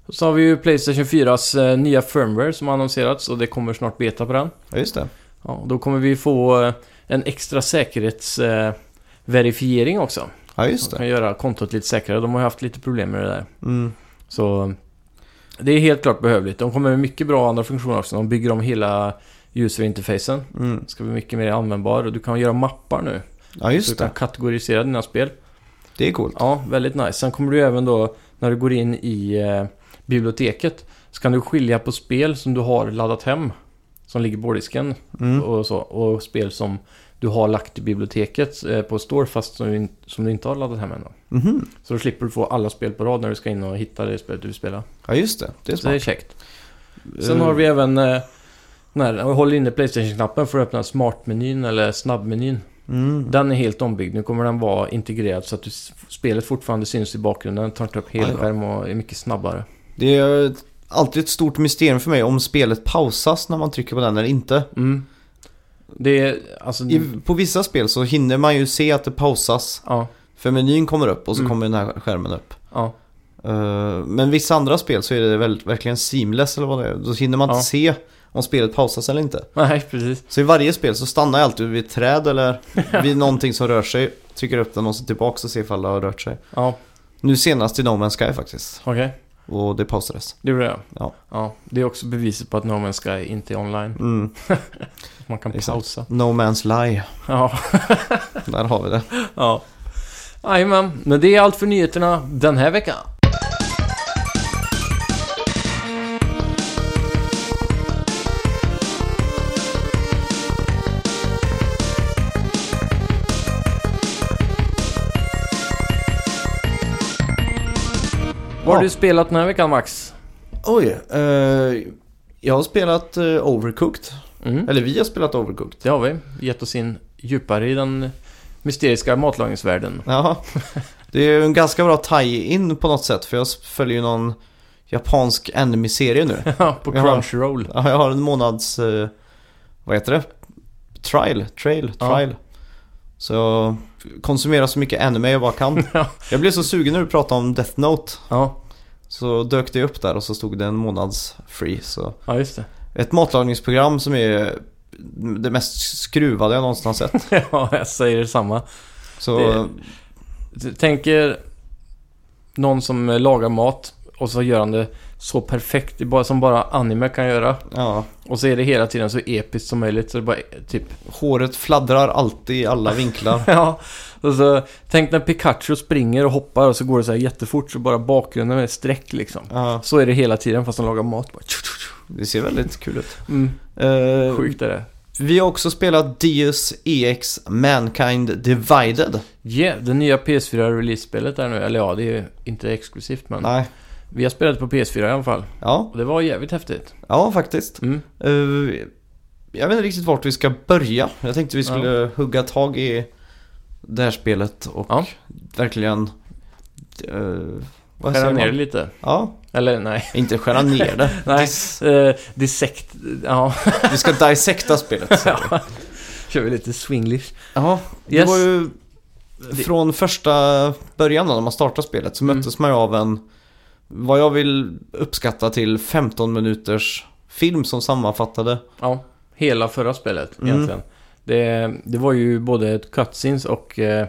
[SPEAKER 2] Och Så har vi ju Playstation 4s eh, nya firmware som har annonserats och det kommer snart beta på den.
[SPEAKER 1] ja, just det.
[SPEAKER 2] Ja, och då kommer vi få eh, en extra säkerhetsverifiering också.
[SPEAKER 1] Ja, just
[SPEAKER 2] Som
[SPEAKER 1] det.
[SPEAKER 2] kan göra kontot lite säkrare. De har ju haft lite problem med det där.
[SPEAKER 1] Mm.
[SPEAKER 2] Så det är helt klart behövligt. De kommer med mycket bra andra funktioner också. De bygger om hela user-interfacen.
[SPEAKER 1] Mm.
[SPEAKER 2] Den ska bli mycket mer användbar och du kan göra mappar nu.
[SPEAKER 1] Ja,
[SPEAKER 2] så du
[SPEAKER 1] just
[SPEAKER 2] kan
[SPEAKER 1] det.
[SPEAKER 2] kategorisera dina spel.
[SPEAKER 1] Det är coolt.
[SPEAKER 2] Ja, väldigt nice. Sen kommer du även då, när du går in i eh, biblioteket, så kan du skilja på spel som du har laddat hem, som ligger på disken
[SPEAKER 1] Mm.
[SPEAKER 2] och så, och spel som du har lagt i biblioteket eh, på Store fast som du, in, som du inte har laddat hem än. då.
[SPEAKER 1] Mhm.
[SPEAKER 2] Så då slipper du få alla spel på rad när du ska in och hitta det spelet du vill spela.
[SPEAKER 1] Ja, just det. Det är
[SPEAKER 2] Så det är
[SPEAKER 1] smart.
[SPEAKER 2] käckt. Sen har vi även... eh, När jag håller inne Playstation-knappen för att öppna smartmenyn eller snabbmenyn.
[SPEAKER 1] Mm.
[SPEAKER 2] Den är helt ombyggd. Nu kommer den vara integrerad så att du, s- spelet fortfarande syns i bakgrunden. Den tar inte upp helskärm och är mycket snabbare.
[SPEAKER 1] Det är alltid ett stort mysterium för mig om spelet pausas när man trycker på den eller inte.
[SPEAKER 2] Mm. Det är alltså...
[SPEAKER 1] I, på vissa spel så hinner man ju se att det pausas.
[SPEAKER 2] Ja,
[SPEAKER 1] För menyn kommer upp och så
[SPEAKER 2] Mm.
[SPEAKER 1] kommer den här skärmen upp.
[SPEAKER 2] ja,
[SPEAKER 1] Eh, men vissa andra spel så är det väl, verkligen seamless eller vad det är. Då hinner man inte
[SPEAKER 2] Ja.
[SPEAKER 1] se om spelet pausas eller inte.
[SPEAKER 2] nej precis.
[SPEAKER 1] Så i varje spel så stannar jag alltid vid ett träd eller vid någonting som rör sig. Trycker upp den och så tillbaka och ser ifall det har rört sig.
[SPEAKER 2] Ja,
[SPEAKER 1] Nu senast i No Man's Sky faktiskt.
[SPEAKER 2] okej.
[SPEAKER 1] Och det pausades.
[SPEAKER 2] Det gjorde jag.
[SPEAKER 1] Ja.
[SPEAKER 2] Det är också beviset på att No Man's Sky inte är online.
[SPEAKER 1] Mm.
[SPEAKER 2] Man kan
[SPEAKER 1] Exakt.
[SPEAKER 2] pausa.
[SPEAKER 1] No Man's Lie.
[SPEAKER 2] Ja,
[SPEAKER 1] Där har vi det.
[SPEAKER 2] ja. Jajamän. Men det är allt för nyheterna den här veckan. Vad har
[SPEAKER 1] Ja.
[SPEAKER 2] du spelat den här veckan Max?
[SPEAKER 1] Oj, eh, jag har spelat eh, Overcooked.
[SPEAKER 2] Mm.
[SPEAKER 1] Eller vi har spelat Overcooked.
[SPEAKER 2] Det har vi. Gett oss in djupare i den mysteriska matlagningsvärlden.
[SPEAKER 1] Jaha. Det är ju en ganska bra tie-in på något sätt för jag s- följer ju någon japansk anime-serie nu.
[SPEAKER 2] på
[SPEAKER 1] Ja.
[SPEAKER 2] Crunchyroll.
[SPEAKER 1] Ja, Jag har en månads... eh, Vad heter det? Trial, trail,
[SPEAKER 2] Ja.
[SPEAKER 1] trial. Så jag konsumerar så mycket anime jag bara kan.
[SPEAKER 2] Ja.
[SPEAKER 1] Jag blev så sugen när du pratade om Death Note.
[SPEAKER 2] Ja,
[SPEAKER 1] Så dök det upp där och så stod det en månads free. Så
[SPEAKER 2] ja just det.
[SPEAKER 1] Ett matlagningsprogram som är det mest skruvade jag någonsin har sett.
[SPEAKER 2] ja, jag säger detsamma.
[SPEAKER 1] Så
[SPEAKER 2] Det- Tänker någon som lagar mat och så gör han det så perfekt det är bara- som bara anime kan göra.
[SPEAKER 1] ja,
[SPEAKER 2] Och så är det hela tiden så episkt som möjligt. Så det bara är- typ...
[SPEAKER 1] håret fladdrar alltid i alla vinklar.
[SPEAKER 2] ja. Och så, tänk när Pikachu springer och hoppar och så går det så här jättefort så bara bakgrunden är streck liksom.
[SPEAKER 1] Ja,
[SPEAKER 2] Så är det hela tiden fast de lagar mat. Bara.
[SPEAKER 1] det ser väldigt kul ut.
[SPEAKER 2] Mm,
[SPEAKER 1] Eh,
[SPEAKER 2] sjukt är det.
[SPEAKER 1] vi har också spelat Deus EX Mankind Divided.
[SPEAKER 2] Yeah, det nya PS4-release-spelet där nu. Eller ja, det är ju inte exklusivt men.
[SPEAKER 1] Nej,
[SPEAKER 2] Vi har spelat på PS4 i alla fall.
[SPEAKER 1] ja,
[SPEAKER 2] Och det var jävligt häftigt.
[SPEAKER 1] ja faktiskt.
[SPEAKER 2] Mm.
[SPEAKER 1] Eh, jag vet inte riktigt vart vi ska börja. Jag tänkte vi skulle hugga tag i det här spelet och
[SPEAKER 2] Ja.
[SPEAKER 1] verkligen... eh, vad
[SPEAKER 2] Skära
[SPEAKER 1] säger man?
[SPEAKER 2] ner det lite.
[SPEAKER 1] Ja,
[SPEAKER 2] Eller nej.
[SPEAKER 1] inte skära ner det.
[SPEAKER 2] Nej.
[SPEAKER 1] Dis-
[SPEAKER 2] Eh, dissekt. Ja,
[SPEAKER 1] Vi ska dissekta spelet. säger vi.
[SPEAKER 2] kör vi lite swinglish.
[SPEAKER 1] Ja, det
[SPEAKER 2] Yes.
[SPEAKER 1] var ju från första början då, när man startade spelet så
[SPEAKER 2] Mm.
[SPEAKER 1] möttes man ju av en, vad jag vill uppskatta till 15 minuters film som sammanfattade.
[SPEAKER 2] Ja, hela förra spelet
[SPEAKER 1] Mm.
[SPEAKER 2] egentligen. Det, det var ju både cutscenes och... Eh,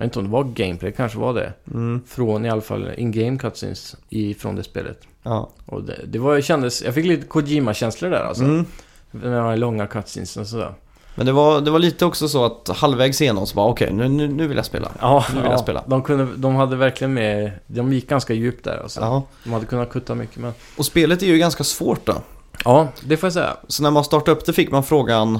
[SPEAKER 2] jag vet inte om det var gameplay, kanske var det.
[SPEAKER 1] Mm,
[SPEAKER 2] Från i alla fall in-game cutscenes i, från det spelet.
[SPEAKER 1] ja.
[SPEAKER 2] Och det, det var, kändes... Jag fick lite Kojima-känslor där alltså.
[SPEAKER 1] mm.
[SPEAKER 2] Med de här långa cutscenes och sådär.
[SPEAKER 1] Men det var, det var lite också så att halvvägs igenom så bara okej, nu, nu, nu vill jag spela.
[SPEAKER 2] Ja,
[SPEAKER 1] Nu vill jag spela.
[SPEAKER 2] De, kunde, de hade verkligen med... De gick ganska djupt där alltså.
[SPEAKER 1] Ja.
[SPEAKER 2] De hade kunnat kutta mycket men...
[SPEAKER 1] Och spelet är ju ganska svårt då.
[SPEAKER 2] Ja, det får jag säga.
[SPEAKER 1] Så när man startade upp det fick man frågan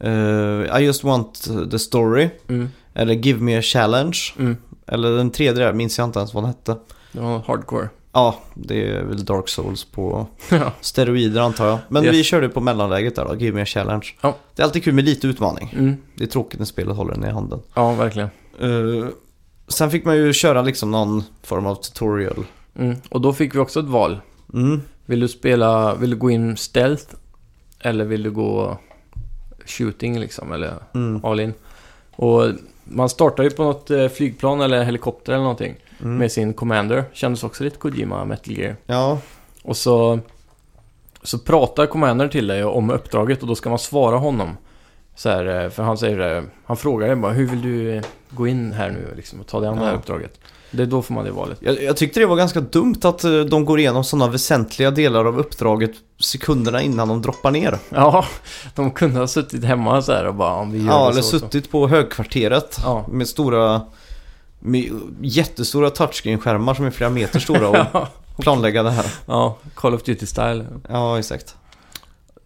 [SPEAKER 1] eh, I just want the story.
[SPEAKER 2] Mm,
[SPEAKER 1] Eller Give me a challenge.
[SPEAKER 2] mm.
[SPEAKER 1] Eller den tredje där, minns jag inte ens vad den hette.
[SPEAKER 2] Det var hardcore.
[SPEAKER 1] Ja, det är väl Dark Souls på
[SPEAKER 2] ja.
[SPEAKER 1] steroider antar jag. Men
[SPEAKER 2] Yes.
[SPEAKER 1] vi körde på mellanläget där då, Give me a challenge.
[SPEAKER 2] Ja.
[SPEAKER 1] Det är alltid kul med lite utmaning.
[SPEAKER 2] Mm.
[SPEAKER 1] Det är tråkigt när spelet håller den i handen.
[SPEAKER 2] ja, verkligen.
[SPEAKER 1] Eh, sen fick man ju köra liksom någon form av tutorial.
[SPEAKER 2] Mm. Och då fick vi också ett val.
[SPEAKER 1] Mm.
[SPEAKER 2] Vill du spela, vill du gå in stealth? Eller vill du gå shooting liksom, eller
[SPEAKER 1] Mm.
[SPEAKER 2] all in? Och man startar ju på något eh, flygplan eller helikopter eller någonting
[SPEAKER 1] Mm.
[SPEAKER 2] med sin commander. Kändes också lite Kojima Metal Gear.
[SPEAKER 1] Ja,
[SPEAKER 2] Och så, så pratar commandern till dig om uppdraget och då ska man svara honom. Så här, eh, för han säger det, han frågar dig bara hur vill du eh, gå in här nu liksom, och ta dig an det här
[SPEAKER 1] Ja.
[SPEAKER 2] uppdraget. Det är då får man det valet.
[SPEAKER 1] jag, jag tyckte det var ganska dumt att eh, de går igenom sådana väsentliga delar av uppdraget sekunderna innan de droppar ner.
[SPEAKER 2] Ja, de kunde ha suttit hemma så här och bara om vi gör
[SPEAKER 1] Ja,
[SPEAKER 2] det
[SPEAKER 1] eller
[SPEAKER 2] så, och så.
[SPEAKER 1] suttit på högkvarteret
[SPEAKER 2] Ja.
[SPEAKER 1] med stora, med jättestora touchscreen-skärmar som är flera meter stora och planlägga det här.
[SPEAKER 2] ja, Call of Duty Style.
[SPEAKER 1] Ja, exakt.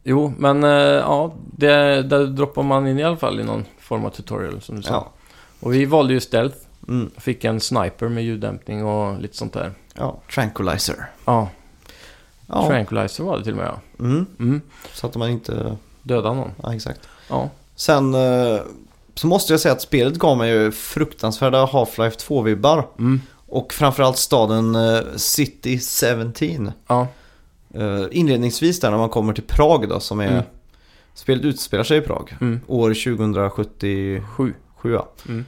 [SPEAKER 2] Jo, men eh, ja, det, där droppar man in i alla fall i någon form av tutorial som du sa.
[SPEAKER 1] Ja.
[SPEAKER 2] Och vi valde ju stealth,
[SPEAKER 1] Mm.
[SPEAKER 2] fick en sniper med ljuddämpning och lite sånt där.
[SPEAKER 1] ja, tranquilizer.
[SPEAKER 2] Ja,
[SPEAKER 1] Ja.
[SPEAKER 2] tranquilizer var det till och med ja.
[SPEAKER 1] Mm.
[SPEAKER 2] Mm,
[SPEAKER 1] Så att man inte...
[SPEAKER 2] döda någon.
[SPEAKER 1] Ja, exakt.
[SPEAKER 2] Ja,
[SPEAKER 1] Sen eh, så måste jag säga att spelet gav mig ju fruktansvärda Half-Life 2-vibbar.
[SPEAKER 2] mm,
[SPEAKER 1] Och framförallt staden eh, City 17.
[SPEAKER 2] ja,
[SPEAKER 1] Eh, inledningsvis där när man kommer till Prag då som är...
[SPEAKER 2] Mm.
[SPEAKER 1] Spelet utspelar sig i Prag.
[SPEAKER 2] mm.
[SPEAKER 1] År 2077.
[SPEAKER 2] Sju.
[SPEAKER 1] ja.
[SPEAKER 2] Mm.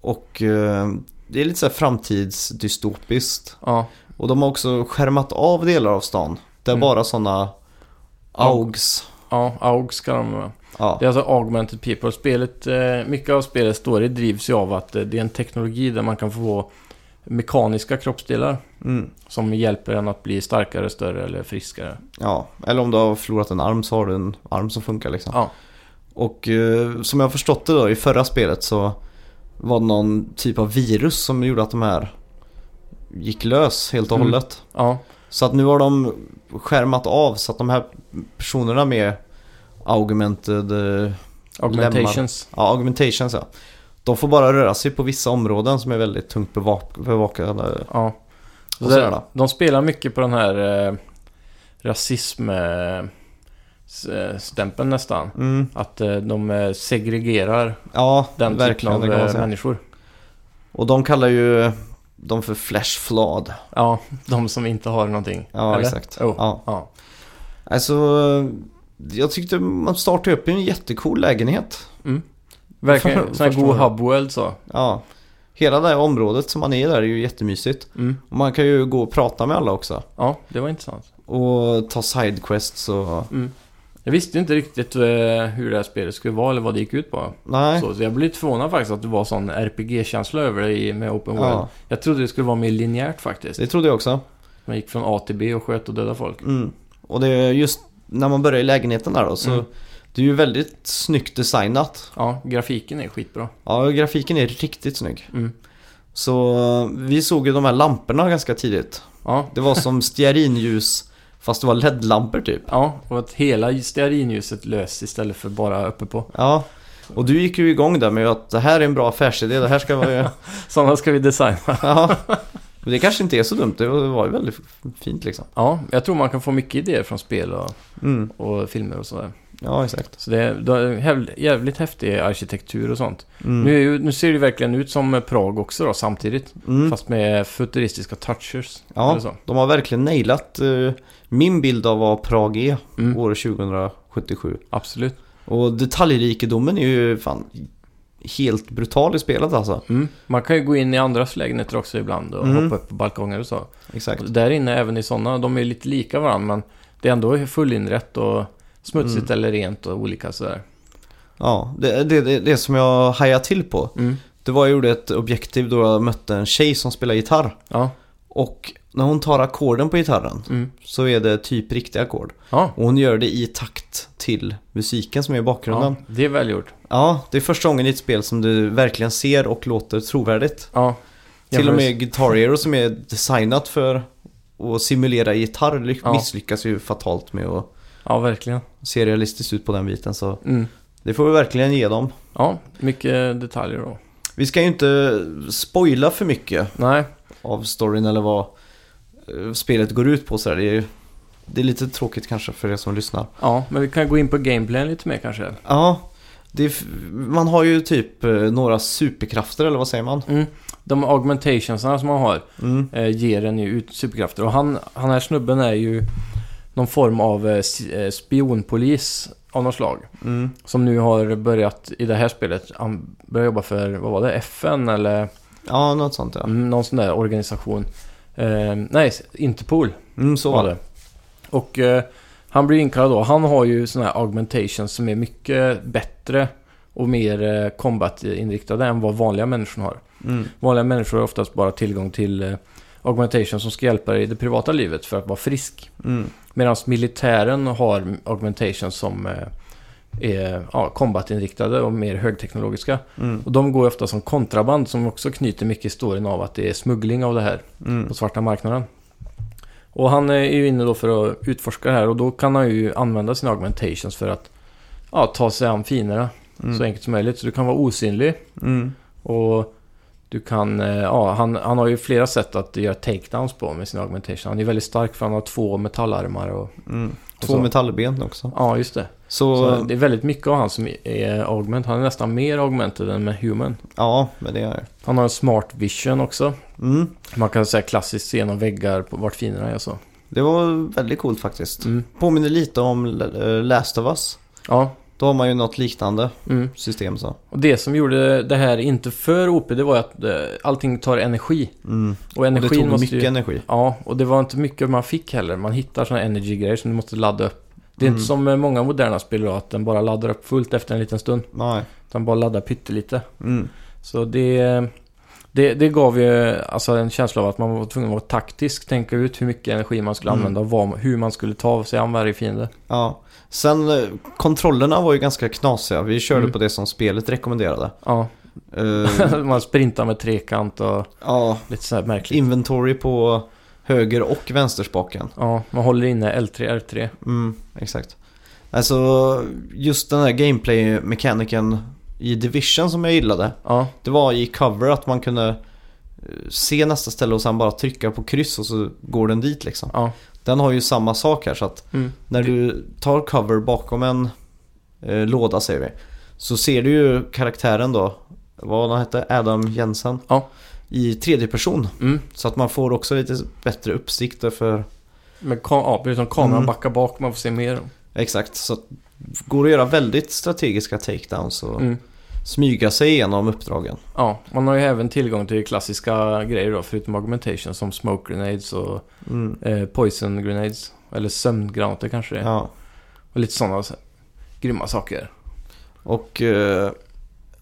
[SPEAKER 1] Och eh, det är lite så här framtidsdystopiskt.
[SPEAKER 2] Ja,
[SPEAKER 1] Och de har också skärmat av delar av stan. Där
[SPEAKER 2] Mm.
[SPEAKER 1] bara sådana AUGs.
[SPEAKER 2] ja, AUG ska de vara.
[SPEAKER 1] Ja.
[SPEAKER 2] Det är alltså augmented people. Spelet, eh, mycket av spelets story drivs ju av att eh, det är en teknologi där man kan få mekaniska kroppsdelar
[SPEAKER 1] Mm.
[SPEAKER 2] som hjälper en att bli starkare, större eller friskare.
[SPEAKER 1] ja, eller om du har förlorat en arm så har du en arm som funkar liksom.
[SPEAKER 2] Ja.
[SPEAKER 1] Och eh, som jag har förstått det då i förra spelet så var det någon typ av virus som gjorde att de här gick lös helt och
[SPEAKER 2] Mm.
[SPEAKER 1] hållet.
[SPEAKER 2] Ja,
[SPEAKER 1] Så att nu har de skärmat av så att de här personerna med augmented, eh,
[SPEAKER 2] augmentations.
[SPEAKER 1] ja, augmentations ja. De får bara röra sig på vissa områden som är väldigt tungt bevak- bevakade.
[SPEAKER 2] Ja.
[SPEAKER 1] Och
[SPEAKER 2] Och
[SPEAKER 1] sådär
[SPEAKER 2] det,
[SPEAKER 1] då.
[SPEAKER 2] de spelar mycket på den här eh, rasism eh, s- eh, stämpeln nästan.
[SPEAKER 1] Mm.
[SPEAKER 2] Att eh, de eh, segregerar
[SPEAKER 1] Ja,
[SPEAKER 2] den typen
[SPEAKER 1] verkligen.
[SPEAKER 2] av
[SPEAKER 1] Det kan man
[SPEAKER 2] eh,
[SPEAKER 1] säga.
[SPEAKER 2] människor.
[SPEAKER 1] Och de kallar ju dem för flash flood.
[SPEAKER 2] Ja, de som inte har någonting.
[SPEAKER 1] Ja,
[SPEAKER 2] eller? Oh.
[SPEAKER 1] exakt.
[SPEAKER 2] Jo.
[SPEAKER 1] Ja.
[SPEAKER 2] Ja.
[SPEAKER 1] Alltså, jag tyckte man startade upp i en jättecool lägenhet.
[SPEAKER 2] Verkligen, sån här
[SPEAKER 1] Förstår
[SPEAKER 2] god
[SPEAKER 1] jag.
[SPEAKER 2] hubworld så.
[SPEAKER 1] Ja. Hela det här området som man är där är ju jättemysigt.
[SPEAKER 2] Mm.
[SPEAKER 1] Och man kan ju gå och prata med alla också.
[SPEAKER 2] Ja, det var intressant.
[SPEAKER 1] och ta sidequests och...
[SPEAKER 2] Mm. Jag visste inte riktigt eh, hur det här spelet skulle vara eller vad det gick ut på.
[SPEAKER 1] Nej.
[SPEAKER 2] Så, så jag blev lite förvånad faktiskt att det var sån RPG-känsla över det i- med Open World.
[SPEAKER 1] Ja,
[SPEAKER 2] Jag trodde det skulle vara mer linjärt faktiskt.
[SPEAKER 1] det trodde jag också.
[SPEAKER 2] Man gick från A till B och sköt och dödade folk.
[SPEAKER 1] Mm. Och det är just när man börjar i lägenheten där då så
[SPEAKER 2] Mm.
[SPEAKER 1] det är ju väldigt snyggt designat.
[SPEAKER 2] Ja, grafiken är skitbra.
[SPEAKER 1] Ja, grafiken är riktigt snygg.
[SPEAKER 2] Mm.
[SPEAKER 1] Så eh, vi såg ju de här lamporna ganska tidigt.
[SPEAKER 2] Ja,
[SPEAKER 1] Det var som stearinljus fast det var LED-lampor typ.
[SPEAKER 2] ja, och att hela stearinljuset lös istället för bara uppe på.
[SPEAKER 1] Ja, och du gick ju igång där med att det här är en bra affärsidé, det här ska vara...
[SPEAKER 2] Sådana ska vi designa.
[SPEAKER 1] ja. Men det kanske inte är så dumt, det var ju väldigt fint liksom.
[SPEAKER 2] Ja, jag tror man kan få mycket idéer från spel och,
[SPEAKER 1] Mm.
[SPEAKER 2] och filmer och sådär.
[SPEAKER 1] Ja, exakt.
[SPEAKER 2] Så det är, det är häv- jävligt häftig arkitektur och sånt.
[SPEAKER 1] Mm.
[SPEAKER 2] Nu, är ju, nu ser det ju verkligen ut som Prag också då, samtidigt.
[SPEAKER 1] Mm.
[SPEAKER 2] Fast med futuristiska touchers. Eller
[SPEAKER 1] Ja,
[SPEAKER 2] så.
[SPEAKER 1] de har verkligen nailat eh, min bild av vad Prag är
[SPEAKER 2] Mm,
[SPEAKER 1] år 2077.
[SPEAKER 2] absolut.
[SPEAKER 1] Och detaljrikedomen är ju fan helt brutal i spelet alltså.
[SPEAKER 2] Mm. Man kan ju gå in i andras lägenheter också ibland och
[SPEAKER 1] Mm.
[SPEAKER 2] hoppa upp på balkonger och så.
[SPEAKER 1] Exakt.
[SPEAKER 2] Och där inne, även i sådana, de är lite lika varandra men det är ändå fullinrätt och
[SPEAKER 1] Mm.
[SPEAKER 2] smutsigt eller rent och olika sådär.
[SPEAKER 1] Ja, det, det, det, det som jag hajade till på.
[SPEAKER 2] Mm.
[SPEAKER 1] Det var jag gjorde ett objektiv då jag mötte en tjej som spelar gitarr.
[SPEAKER 2] Ja,
[SPEAKER 1] Och när hon tar ackorden på gitarren
[SPEAKER 2] mm.
[SPEAKER 1] så är det typ riktiga ackord.
[SPEAKER 2] ja,
[SPEAKER 1] Och hon gör det i takt till musiken som är i
[SPEAKER 2] ja,
[SPEAKER 1] bakgrunden. Ja.
[SPEAKER 2] det är välgjort.
[SPEAKER 1] det är första gången i ett spel som du verkligen ser och låter trovärdigt.
[SPEAKER 2] Ja.
[SPEAKER 1] Till och med Guitar Hero som är designat för att simulera gitarr ly-
[SPEAKER 2] Ja.
[SPEAKER 1] misslyckas ju fatalt med att
[SPEAKER 2] Ja, verkligen.
[SPEAKER 1] se realistiskt ut på den biten. Så
[SPEAKER 2] Mm.
[SPEAKER 1] det får vi verkligen ge dem.
[SPEAKER 2] Ja, mycket detaljer då.
[SPEAKER 1] Vi ska ju inte spoila för mycket
[SPEAKER 2] Nej,
[SPEAKER 1] av storyn eller vad eh, spelet går ut på. Så här. Det, är, ju- det är lite tråkigt kanske för er som lyssnar.
[SPEAKER 2] ja, men vi kan gå in på gameplayen lite mer kanske.
[SPEAKER 1] Ja, det är, f- man har ju typ eh, några superkrafter eller vad säger man?
[SPEAKER 2] Mm. De augmentationsarna som man har
[SPEAKER 1] Mm.
[SPEAKER 2] eh, ger en ju ut superkrafter. Och han, han här snubben är ju någon form av eh, si- eh, spionpolis av något slag.
[SPEAKER 1] Mm.
[SPEAKER 2] Som nu har börjat i det här spelet. Han börjar jobba för, vad var det, FN eller
[SPEAKER 1] Ja, något sånt ja.
[SPEAKER 2] mm, någon sån där organisation. Eh, nej, Interpol
[SPEAKER 1] Mm, så var
[SPEAKER 2] var
[SPEAKER 1] det.
[SPEAKER 2] det. Och eh, han blir inkallad då. Han har ju såna här augmentations som är mycket bättre och mer eh, combat-inriktade än vad vanliga människor har.
[SPEAKER 1] Mm.
[SPEAKER 2] Vanliga människor har oftast bara tillgång till eh, augmentation som ska hjälpa dig i det privata livet för att vara frisk.
[SPEAKER 1] Mm.
[SPEAKER 2] Medan militären har augmentation som eh, är ja, combatinriktade och mer högteknologiska.
[SPEAKER 1] Mm.
[SPEAKER 2] Och de går ofta som kontraband som också knyter mycket i storyn av att det är smuggling av det här
[SPEAKER 1] Mm.
[SPEAKER 2] på svarta marknaden. Och han är ju inne då för att utforska det här och då kan han ju använda sina augmentations för att ja, ta sig an fienderna så
[SPEAKER 1] Mm.
[SPEAKER 2] enkelt som möjligt. Så du kan vara osynlig
[SPEAKER 1] Mm.
[SPEAKER 2] och du kan, eh, ja, han, han har ju flera sätt att göra takedowns på med sin augmentation. Han är väldigt stark för han har två metallarmar och...
[SPEAKER 1] Mm.
[SPEAKER 2] och
[SPEAKER 1] Två
[SPEAKER 2] så.
[SPEAKER 1] metallben också.
[SPEAKER 2] Ja, just det.
[SPEAKER 1] Så,
[SPEAKER 2] Så det är väldigt mycket av han som är augment. Han är nästan mer augmented än med human.
[SPEAKER 1] ja, men det är
[SPEAKER 2] Han har en smart vision också.
[SPEAKER 1] mm.
[SPEAKER 2] Man kan säga klassiskt se genom väggar på vart fienderna är och så.
[SPEAKER 1] Det var väldigt coolt faktiskt.
[SPEAKER 2] Mm.
[SPEAKER 1] Påminner lite om eh, Last of Us.
[SPEAKER 2] Ja,
[SPEAKER 1] Då har man ju något liknande
[SPEAKER 2] mm.
[SPEAKER 1] system så.
[SPEAKER 2] Och det som gjorde det här inte för OP, det var ju att eh, allting tar energi.
[SPEAKER 1] Mm.
[SPEAKER 2] Och
[SPEAKER 1] Och det
[SPEAKER 2] energin
[SPEAKER 1] tog
[SPEAKER 2] måste
[SPEAKER 1] mycket
[SPEAKER 2] ju...
[SPEAKER 1] energi.
[SPEAKER 2] Ja, och det var inte mycket man fick heller. Man hittar sådana energy-grejer som du måste ladda upp. Det är
[SPEAKER 1] Mm.
[SPEAKER 2] inte som med många moderna spel då, att den bara laddar upp fullt efter en liten stund.
[SPEAKER 1] Nej.
[SPEAKER 2] Utan bara laddar pyttelite.
[SPEAKER 1] Mm.
[SPEAKER 2] Så det, det, det gav ju alltså en känsla av att man var tvungen att vara taktisk, tänka ut hur mycket energi man skulle
[SPEAKER 1] Mm.
[SPEAKER 2] använda och vad, hur man skulle ta sig an varje fiende.
[SPEAKER 1] Ja. Sen eh, kontrollerna var ju ganska knasiga. Vi körde
[SPEAKER 2] Mm.
[SPEAKER 1] på det som spelet rekommenderade.
[SPEAKER 2] Ja,
[SPEAKER 1] Eh,
[SPEAKER 2] man sprintar med trekant och
[SPEAKER 1] ja,
[SPEAKER 2] lite så här märkligt.
[SPEAKER 1] inventory på höger och vänsterspaken.
[SPEAKER 2] Ja, man håller inne L3, R3.
[SPEAKER 1] Mm, exakt. Alltså just den här gameplay-mekaniken i Division som jag gillade.
[SPEAKER 2] Ja,
[SPEAKER 1] Det var i cover att man kunde eh, se nästa ställe och sen bara trycka på kryss och så går den dit liksom.
[SPEAKER 2] ja.
[SPEAKER 1] Den har ju samma sak här så att
[SPEAKER 2] Mm.
[SPEAKER 1] När du tar cover bakom en eh, låda säger vi. Så ser du ju karaktären då. Vad han hette? Adam Jensen.
[SPEAKER 2] Ja.
[SPEAKER 1] I tredje person.
[SPEAKER 2] Mm.
[SPEAKER 1] Så att man får också lite bättre uppsikt där för
[SPEAKER 2] Men ka- ja, precis som kameran
[SPEAKER 1] Mm.
[SPEAKER 2] backar bak, man får se mer.
[SPEAKER 1] Exakt. Så att går det att göra väldigt strategiska takedowns och
[SPEAKER 2] Mm.
[SPEAKER 1] smyga sig igenom uppdragen.
[SPEAKER 2] Ja, man har ju även tillgång till klassiska grejer då, förutom augmentation som smoke grenades och
[SPEAKER 1] Mm.
[SPEAKER 2] eh, poison grenades. Eller sömngranater kanske det är.
[SPEAKER 1] Ja.
[SPEAKER 2] Och lite sådana så, grymma saker.
[SPEAKER 1] Och eh,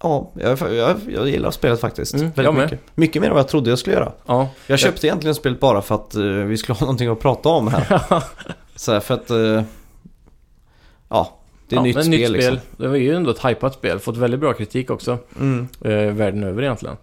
[SPEAKER 1] ja, jag, jag, jag gillar spelet faktiskt.
[SPEAKER 2] Mm,
[SPEAKER 1] väldigt
[SPEAKER 2] jag med.
[SPEAKER 1] mycket. mycket mer än vad jag trodde jag skulle göra.
[SPEAKER 2] Ja,
[SPEAKER 1] Jag köpte egentligen spelet bara för att eh, vi skulle ha någonting att prata om här. så här för att... eh, ja, det är
[SPEAKER 2] ja,
[SPEAKER 1] nytt
[SPEAKER 2] men
[SPEAKER 1] spel liksom.
[SPEAKER 2] Det var ju ändå ett hypat spel. Fått väldigt bra kritik också.
[SPEAKER 1] Mm.
[SPEAKER 2] Eh, världen över egentligen.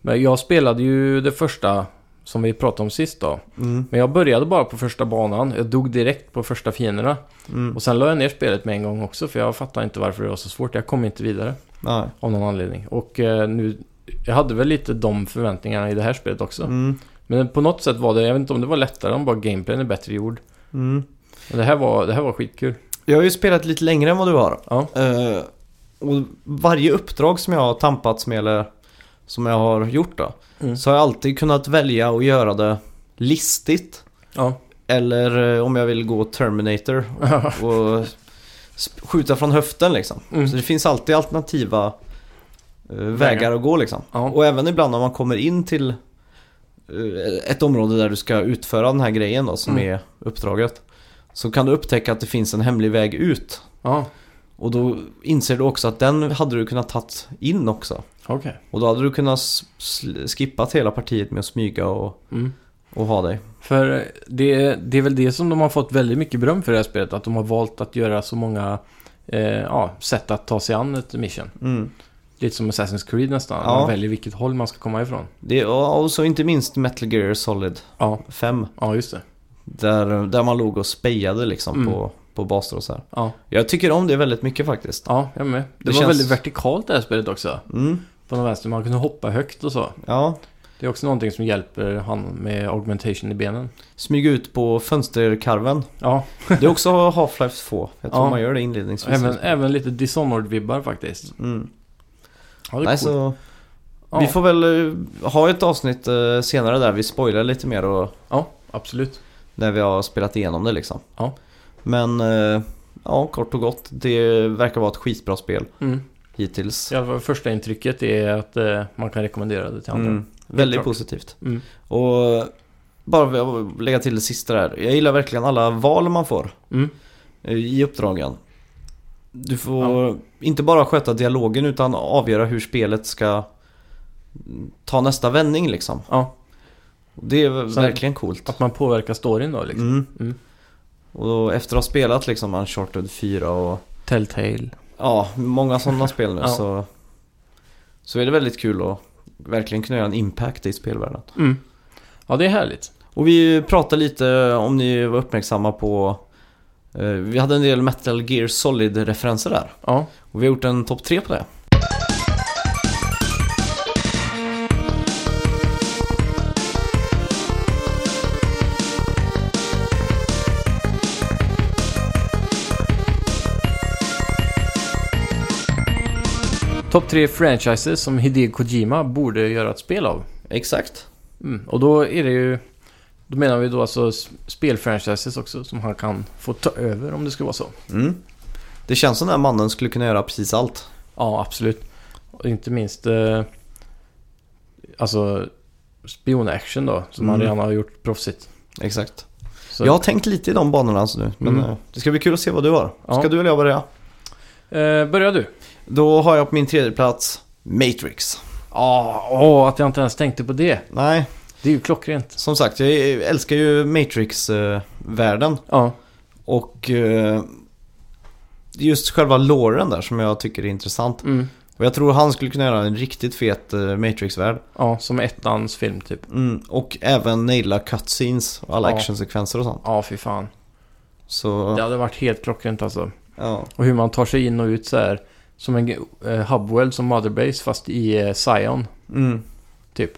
[SPEAKER 2] Men jag spelade ju det första som vi pratade om sist då.
[SPEAKER 1] Mm.
[SPEAKER 2] Men jag började bara på första banan. Jag dog direkt på första fienderna.
[SPEAKER 1] Mm.
[SPEAKER 2] Och sen la jag ner spelet med en gång också. För jag fattade inte varför det var så svårt. Jag kom inte vidare.
[SPEAKER 1] Nej.
[SPEAKER 2] Av någon anledning. Och eh, nu... Jag hade väl lite de förväntningarna i det här spelet också.
[SPEAKER 1] Mm.
[SPEAKER 2] Men på något sätt var det, jag vet inte om det var lättare, om bara gameplayen är bättre gjord.
[SPEAKER 1] Mm.
[SPEAKER 2] Men det här var, det här var skitkul.
[SPEAKER 1] Jag har ju spelat lite längre än vad du har.
[SPEAKER 2] Ja.
[SPEAKER 1] Eh, och varje uppdrag som jag har tampats med eller som jag har gjort då.
[SPEAKER 2] Mm.
[SPEAKER 1] Så har jag alltid kunnat välja att göra det listigt.
[SPEAKER 2] Ja.
[SPEAKER 1] Eller eh, om jag vill gå Terminator och, och sp- skjuta från höften liksom.
[SPEAKER 2] Mm.
[SPEAKER 1] Så det finns alltid alternativa eh, vägar att gå liksom.
[SPEAKER 2] Ja.
[SPEAKER 1] Och även ibland när man kommer in till eh, ett område där du ska utföra den här grejen då, som
[SPEAKER 2] Mm.
[SPEAKER 1] är uppdraget. Så kan du upptäcka att det finns en hemlig väg ut.
[SPEAKER 2] Ja.
[SPEAKER 1] Och då inser du också att den hade du kunnat tagit in också.
[SPEAKER 2] Okej.
[SPEAKER 1] Och då hade du kunnat s- sl- skippat hela partiet med att smyga och,
[SPEAKER 2] Mm.
[SPEAKER 1] och ha dig.
[SPEAKER 2] För eh, det, det är väl det som de har fått väldigt mycket beröm för i det här spelet. Att de har valt att göra så många eh, ja, sätt att ta sig an ett mission.
[SPEAKER 1] Mm.
[SPEAKER 2] Lite som Assassin's Creed nästan.
[SPEAKER 1] Ja.
[SPEAKER 2] Man väljer vilket håll man ska komma ifrån.
[SPEAKER 1] Det, ja, och så inte minst Metal Gear Solid
[SPEAKER 2] Ja,
[SPEAKER 1] 5.
[SPEAKER 2] ja just det.
[SPEAKER 1] Där, där man låg och spejade liksom
[SPEAKER 2] Mm.
[SPEAKER 1] på, på baser och så här.
[SPEAKER 2] Ja,
[SPEAKER 1] Jag tycker om det väldigt mycket faktiskt.
[SPEAKER 2] ja jag med. Det,
[SPEAKER 1] Det
[SPEAKER 2] var
[SPEAKER 1] känns-
[SPEAKER 2] väldigt vertikalt det här spelet också.
[SPEAKER 1] Mm,
[SPEAKER 2] På något vänster, man kunde hoppa högt och så.
[SPEAKER 1] ja.
[SPEAKER 2] Det är också någonting som hjälper han med augmentation i benen.
[SPEAKER 1] Smyga ut på fönsterkarven.
[SPEAKER 2] Ja,
[SPEAKER 1] Det är också Half-Life 2. Jag tror
[SPEAKER 2] Ja.
[SPEAKER 1] man gör det inledningsvis.
[SPEAKER 2] Även, även lite Dishonored-vibbar faktiskt.
[SPEAKER 1] Mm.
[SPEAKER 2] Ja, det är
[SPEAKER 1] Nej,
[SPEAKER 2] coolt.
[SPEAKER 1] så,
[SPEAKER 2] ja,
[SPEAKER 1] Vi får väl eh, ha ett avsnitt eh, senare där vi spoilar lite mer och
[SPEAKER 2] ja, absolut.
[SPEAKER 1] när vi har spelat igenom det liksom.
[SPEAKER 2] Ja.
[SPEAKER 1] Men eh, ja, kort och gott. Det verkar vara ett skitbra spel
[SPEAKER 2] Mm.
[SPEAKER 1] hittills.
[SPEAKER 2] I alla fall första intrycket är att eh, man kan rekommendera det till andra.
[SPEAKER 1] Mm. Väldigt
[SPEAKER 2] klart.
[SPEAKER 1] positivt.
[SPEAKER 2] Mm.
[SPEAKER 1] Och bara för att lägga till det sista där. Jag gillar verkligen alla val man får
[SPEAKER 2] Mm.
[SPEAKER 1] eh, i uppdragen. Du får inte bara sköta dialogen utan avgöra hur spelet ska ta nästa vändning liksom.
[SPEAKER 2] Ja,
[SPEAKER 1] Det är
[SPEAKER 2] Sen-
[SPEAKER 1] verkligen coolt.
[SPEAKER 2] att man påverkar storyn då liksom.
[SPEAKER 1] Mm.
[SPEAKER 2] Mm.
[SPEAKER 1] Och då, efter att ha spelat liksom Uncharted 4 och
[SPEAKER 2] Mm. Telltale.
[SPEAKER 1] ja, många sådana spel nu
[SPEAKER 2] Ja.
[SPEAKER 1] så, så är det väldigt kul att verkligen kunna göra en impact i spelvärlden.
[SPEAKER 2] Mm. Ja, det är härligt.
[SPEAKER 1] Och vi pratade lite om ni var uppmärksamma på eh, Vi hade en del Metal Gear Solid-referenser där
[SPEAKER 2] Ja,
[SPEAKER 1] Och vi har gjort en topp tre på det
[SPEAKER 2] topp tre franchises som Hideo Kojima borde göra ett spel av.
[SPEAKER 1] Exakt
[SPEAKER 2] Mm. Och då är det ju... Då menar vi då alltså s- spelfranchises också som han kan få ta över om det skulle vara så.
[SPEAKER 1] mm. Det känns som den här mannen skulle kunna göra precis allt
[SPEAKER 2] Ja, absolut. Och inte minst eh, alltså spionaction då, som han
[SPEAKER 1] Mm.
[SPEAKER 2] redan har gjort proffsigt.
[SPEAKER 1] Exakt
[SPEAKER 2] Så,
[SPEAKER 1] Jag har tänkt lite i de banorna alltså nu Men
[SPEAKER 2] Mm.
[SPEAKER 1] eh, det ska bli kul att se vad du har Ska
[SPEAKER 2] Ja.
[SPEAKER 1] du eller jag börja?
[SPEAKER 2] eh, börjar du?
[SPEAKER 1] Då har jag på min tredje plats Matrix
[SPEAKER 2] Ja, åh, att jag inte ens tänkte på det.
[SPEAKER 1] Nej,
[SPEAKER 2] Det är ju klockrent.
[SPEAKER 1] som sagt jag älskar ju Matrix-världen
[SPEAKER 2] Ja,
[SPEAKER 1] Och eh, just själva låren där som jag tycker är intressant
[SPEAKER 2] mm.
[SPEAKER 1] Och jag tror han skulle kunna göra en riktigt fet eh, Matrix-värld.
[SPEAKER 2] ja som ettans film typ.
[SPEAKER 1] Mm. Och även naila cutscenes och alla
[SPEAKER 2] Ja.
[SPEAKER 1] actionsekvenser och sånt.
[SPEAKER 2] Ja, fy fan.
[SPEAKER 1] Så,
[SPEAKER 2] Det
[SPEAKER 1] ja.
[SPEAKER 2] hade varit helt klockrent alltså. Och hur man tar sig in och ut så här. Som en eh, hubwell som Motherbase fast i eh, Zion
[SPEAKER 1] Mm.
[SPEAKER 2] typ.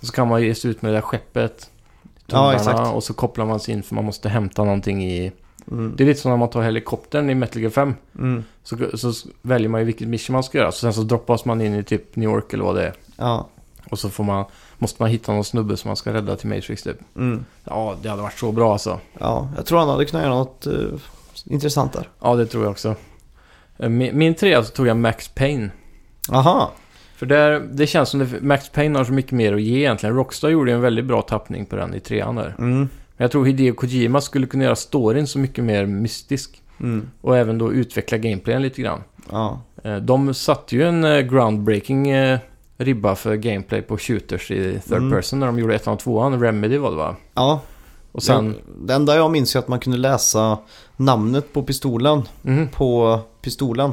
[SPEAKER 2] Och så kan man ge sig ut med det där skeppet.
[SPEAKER 1] Ja,
[SPEAKER 2] tunnlarna,
[SPEAKER 1] exakt.
[SPEAKER 2] Och så kopplar man sig in för man måste hämta någonting i
[SPEAKER 1] Mm.
[SPEAKER 2] Det är lite som när man tar helikoptern i Metal Gear 5.
[SPEAKER 1] Mm.
[SPEAKER 2] Så, så väljer man ju vilket mission man ska göra. Så sen så droppas man in i typ New York eller vad det är.
[SPEAKER 1] Ja.
[SPEAKER 2] Och så får man, måste man hitta någon snubbe som man ska rädda till Matrix typ.
[SPEAKER 1] Mm.
[SPEAKER 2] Ja, det hade varit så bra alltså.
[SPEAKER 1] ja, jag tror han hade kunnat göra något eh, intressant där.
[SPEAKER 2] Ja, det tror jag också. Eh, Min, min trea så tog jag Max Payne.
[SPEAKER 1] Aha,
[SPEAKER 2] För där, det känns som att Max Payne har så mycket mer att ge egentligen. Rockstar gjorde ju en väldigt bra tappning på den i trean där.
[SPEAKER 1] mm.
[SPEAKER 2] Men jag tror Hideo Kojima skulle kunna göra storyn så mycket mer mystisk.
[SPEAKER 1] Mm.
[SPEAKER 2] Och även då utveckla gameplayen lite grann.
[SPEAKER 1] Ja.
[SPEAKER 2] Eh, De satte ju en eh, groundbreaking eh, ribba för gameplay på shooters i third
[SPEAKER 1] Mm.
[SPEAKER 2] person när de gjorde ettan och tvåan. Remedy var det va?
[SPEAKER 1] ja.
[SPEAKER 2] Och sen...
[SPEAKER 1] Det, det enda jag minns är att man kunde läsa namnet på pistolen.
[SPEAKER 2] Mhm.
[SPEAKER 1] På pistolen.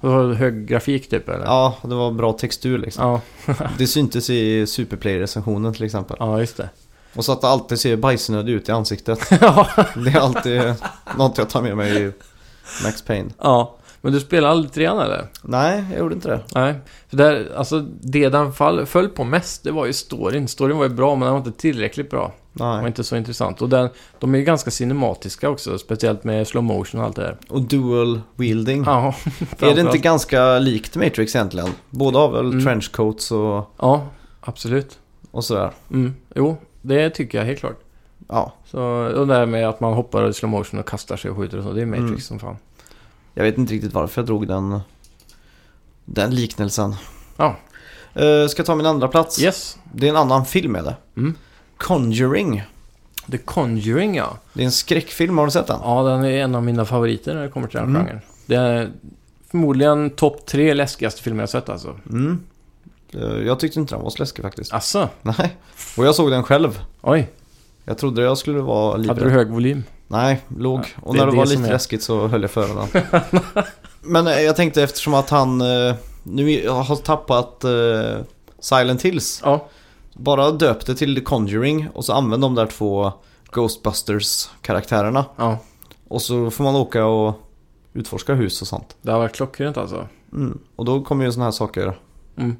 [SPEAKER 2] Det var hög grafik typ eller?
[SPEAKER 1] Ja, det var bra textur liksom.
[SPEAKER 2] Ja,
[SPEAKER 1] Det syntes i Superplay-recensionen till exempel.
[SPEAKER 2] ja just det.
[SPEAKER 1] Och så att det alltid ser bajsnödig ut i ansiktet.
[SPEAKER 2] ja.
[SPEAKER 1] Det är alltid något jag tar med mig i Max Payne.
[SPEAKER 2] ja. Men du spelade aldrig trean eller?
[SPEAKER 1] Nej, jag gjorde inte det.
[SPEAKER 2] Nej. För där, alltså det den fall, föll på mest, det var ju storyn. Storyn var ju bra, men den var inte tillräckligt bra. Den var
[SPEAKER 1] Nej.
[SPEAKER 2] inte så intressant. Och den, de är ju ganska cinematiska också, speciellt med slow motion och allt det där.
[SPEAKER 1] Och dual wielding.
[SPEAKER 2] Ja,
[SPEAKER 1] Mm. är det
[SPEAKER 2] framförallt.
[SPEAKER 1] inte ganska likt Matrix egentligen? Båda har väl
[SPEAKER 2] Mm.
[SPEAKER 1] trenchcoats och,
[SPEAKER 2] Ja, absolut.
[SPEAKER 1] och sådär.
[SPEAKER 2] Mm. Jo, det tycker jag helt klart.
[SPEAKER 1] Ja,
[SPEAKER 2] Så, och det här med att man hoppar i slow motion och kastar sig och skjuter och så, det är Matrix
[SPEAKER 1] Mm.
[SPEAKER 2] som fan.
[SPEAKER 1] jag vet inte riktigt varför jag drog den, den liknelsen.
[SPEAKER 2] Ja.
[SPEAKER 1] Eh, ska jag ta min andra plats?
[SPEAKER 2] Yes.
[SPEAKER 1] Det är en annan film är det.
[SPEAKER 2] Mm.
[SPEAKER 1] Conjuring.
[SPEAKER 2] The Conjuring ja.
[SPEAKER 1] Det är en skräckfilm, har du sett den?
[SPEAKER 2] Ja, den är en av mina favoriter när det kommer till den
[SPEAKER 1] Mm.
[SPEAKER 2] genren. Det är förmodligen topp tre läskigaste filmer jag sett alltså.
[SPEAKER 1] Mm. Eh, Jag tyckte inte den var så läskig faktiskt.
[SPEAKER 2] Asså?
[SPEAKER 1] Nej, och jag såg den själv.
[SPEAKER 2] Oj,
[SPEAKER 1] Jag trodde jag skulle vara
[SPEAKER 2] hade
[SPEAKER 1] livrädd.
[SPEAKER 2] du hög volym?
[SPEAKER 1] Nej, låg. och
[SPEAKER 2] det
[SPEAKER 1] när
[SPEAKER 2] är
[SPEAKER 1] det,
[SPEAKER 2] det
[SPEAKER 1] var
[SPEAKER 2] som
[SPEAKER 1] lite
[SPEAKER 2] är-
[SPEAKER 1] läskigt så höll jag för den. Men eh, jag tänkte eftersom att han eh, nu har tappat eh, Silent Hills.
[SPEAKER 2] Ja.
[SPEAKER 1] Bara döpte till The Conjuring och så använde de där två Ghostbusters-karaktärerna.
[SPEAKER 2] Ja,
[SPEAKER 1] Och så får man åka och utforska hus och sånt.
[SPEAKER 2] det har varit klockrent alltså.
[SPEAKER 1] Mm. Och då kommer ju såna här saker
[SPEAKER 2] Mm.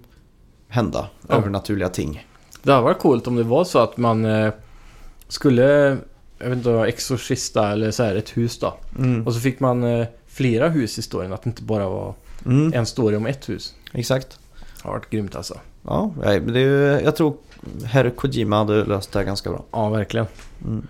[SPEAKER 1] hända.
[SPEAKER 2] Ja.
[SPEAKER 1] Övernaturliga ting.
[SPEAKER 2] Det hade varit coolt om det var så att man eh, skulle, jag vet inte, exorcista eller så här ett hus då.
[SPEAKER 1] Mm.
[SPEAKER 2] Och så fick man eh, flera hus i storyn, att det inte bara var
[SPEAKER 1] Mm.
[SPEAKER 2] en story om ett hus.
[SPEAKER 1] Exakt.
[SPEAKER 2] Det har varit grymt alltså.
[SPEAKER 1] Ja, nej, men det är, ju- jag tror herr Kojima hade löst det här ganska bra.
[SPEAKER 2] Ja, verkligen.
[SPEAKER 1] Mm.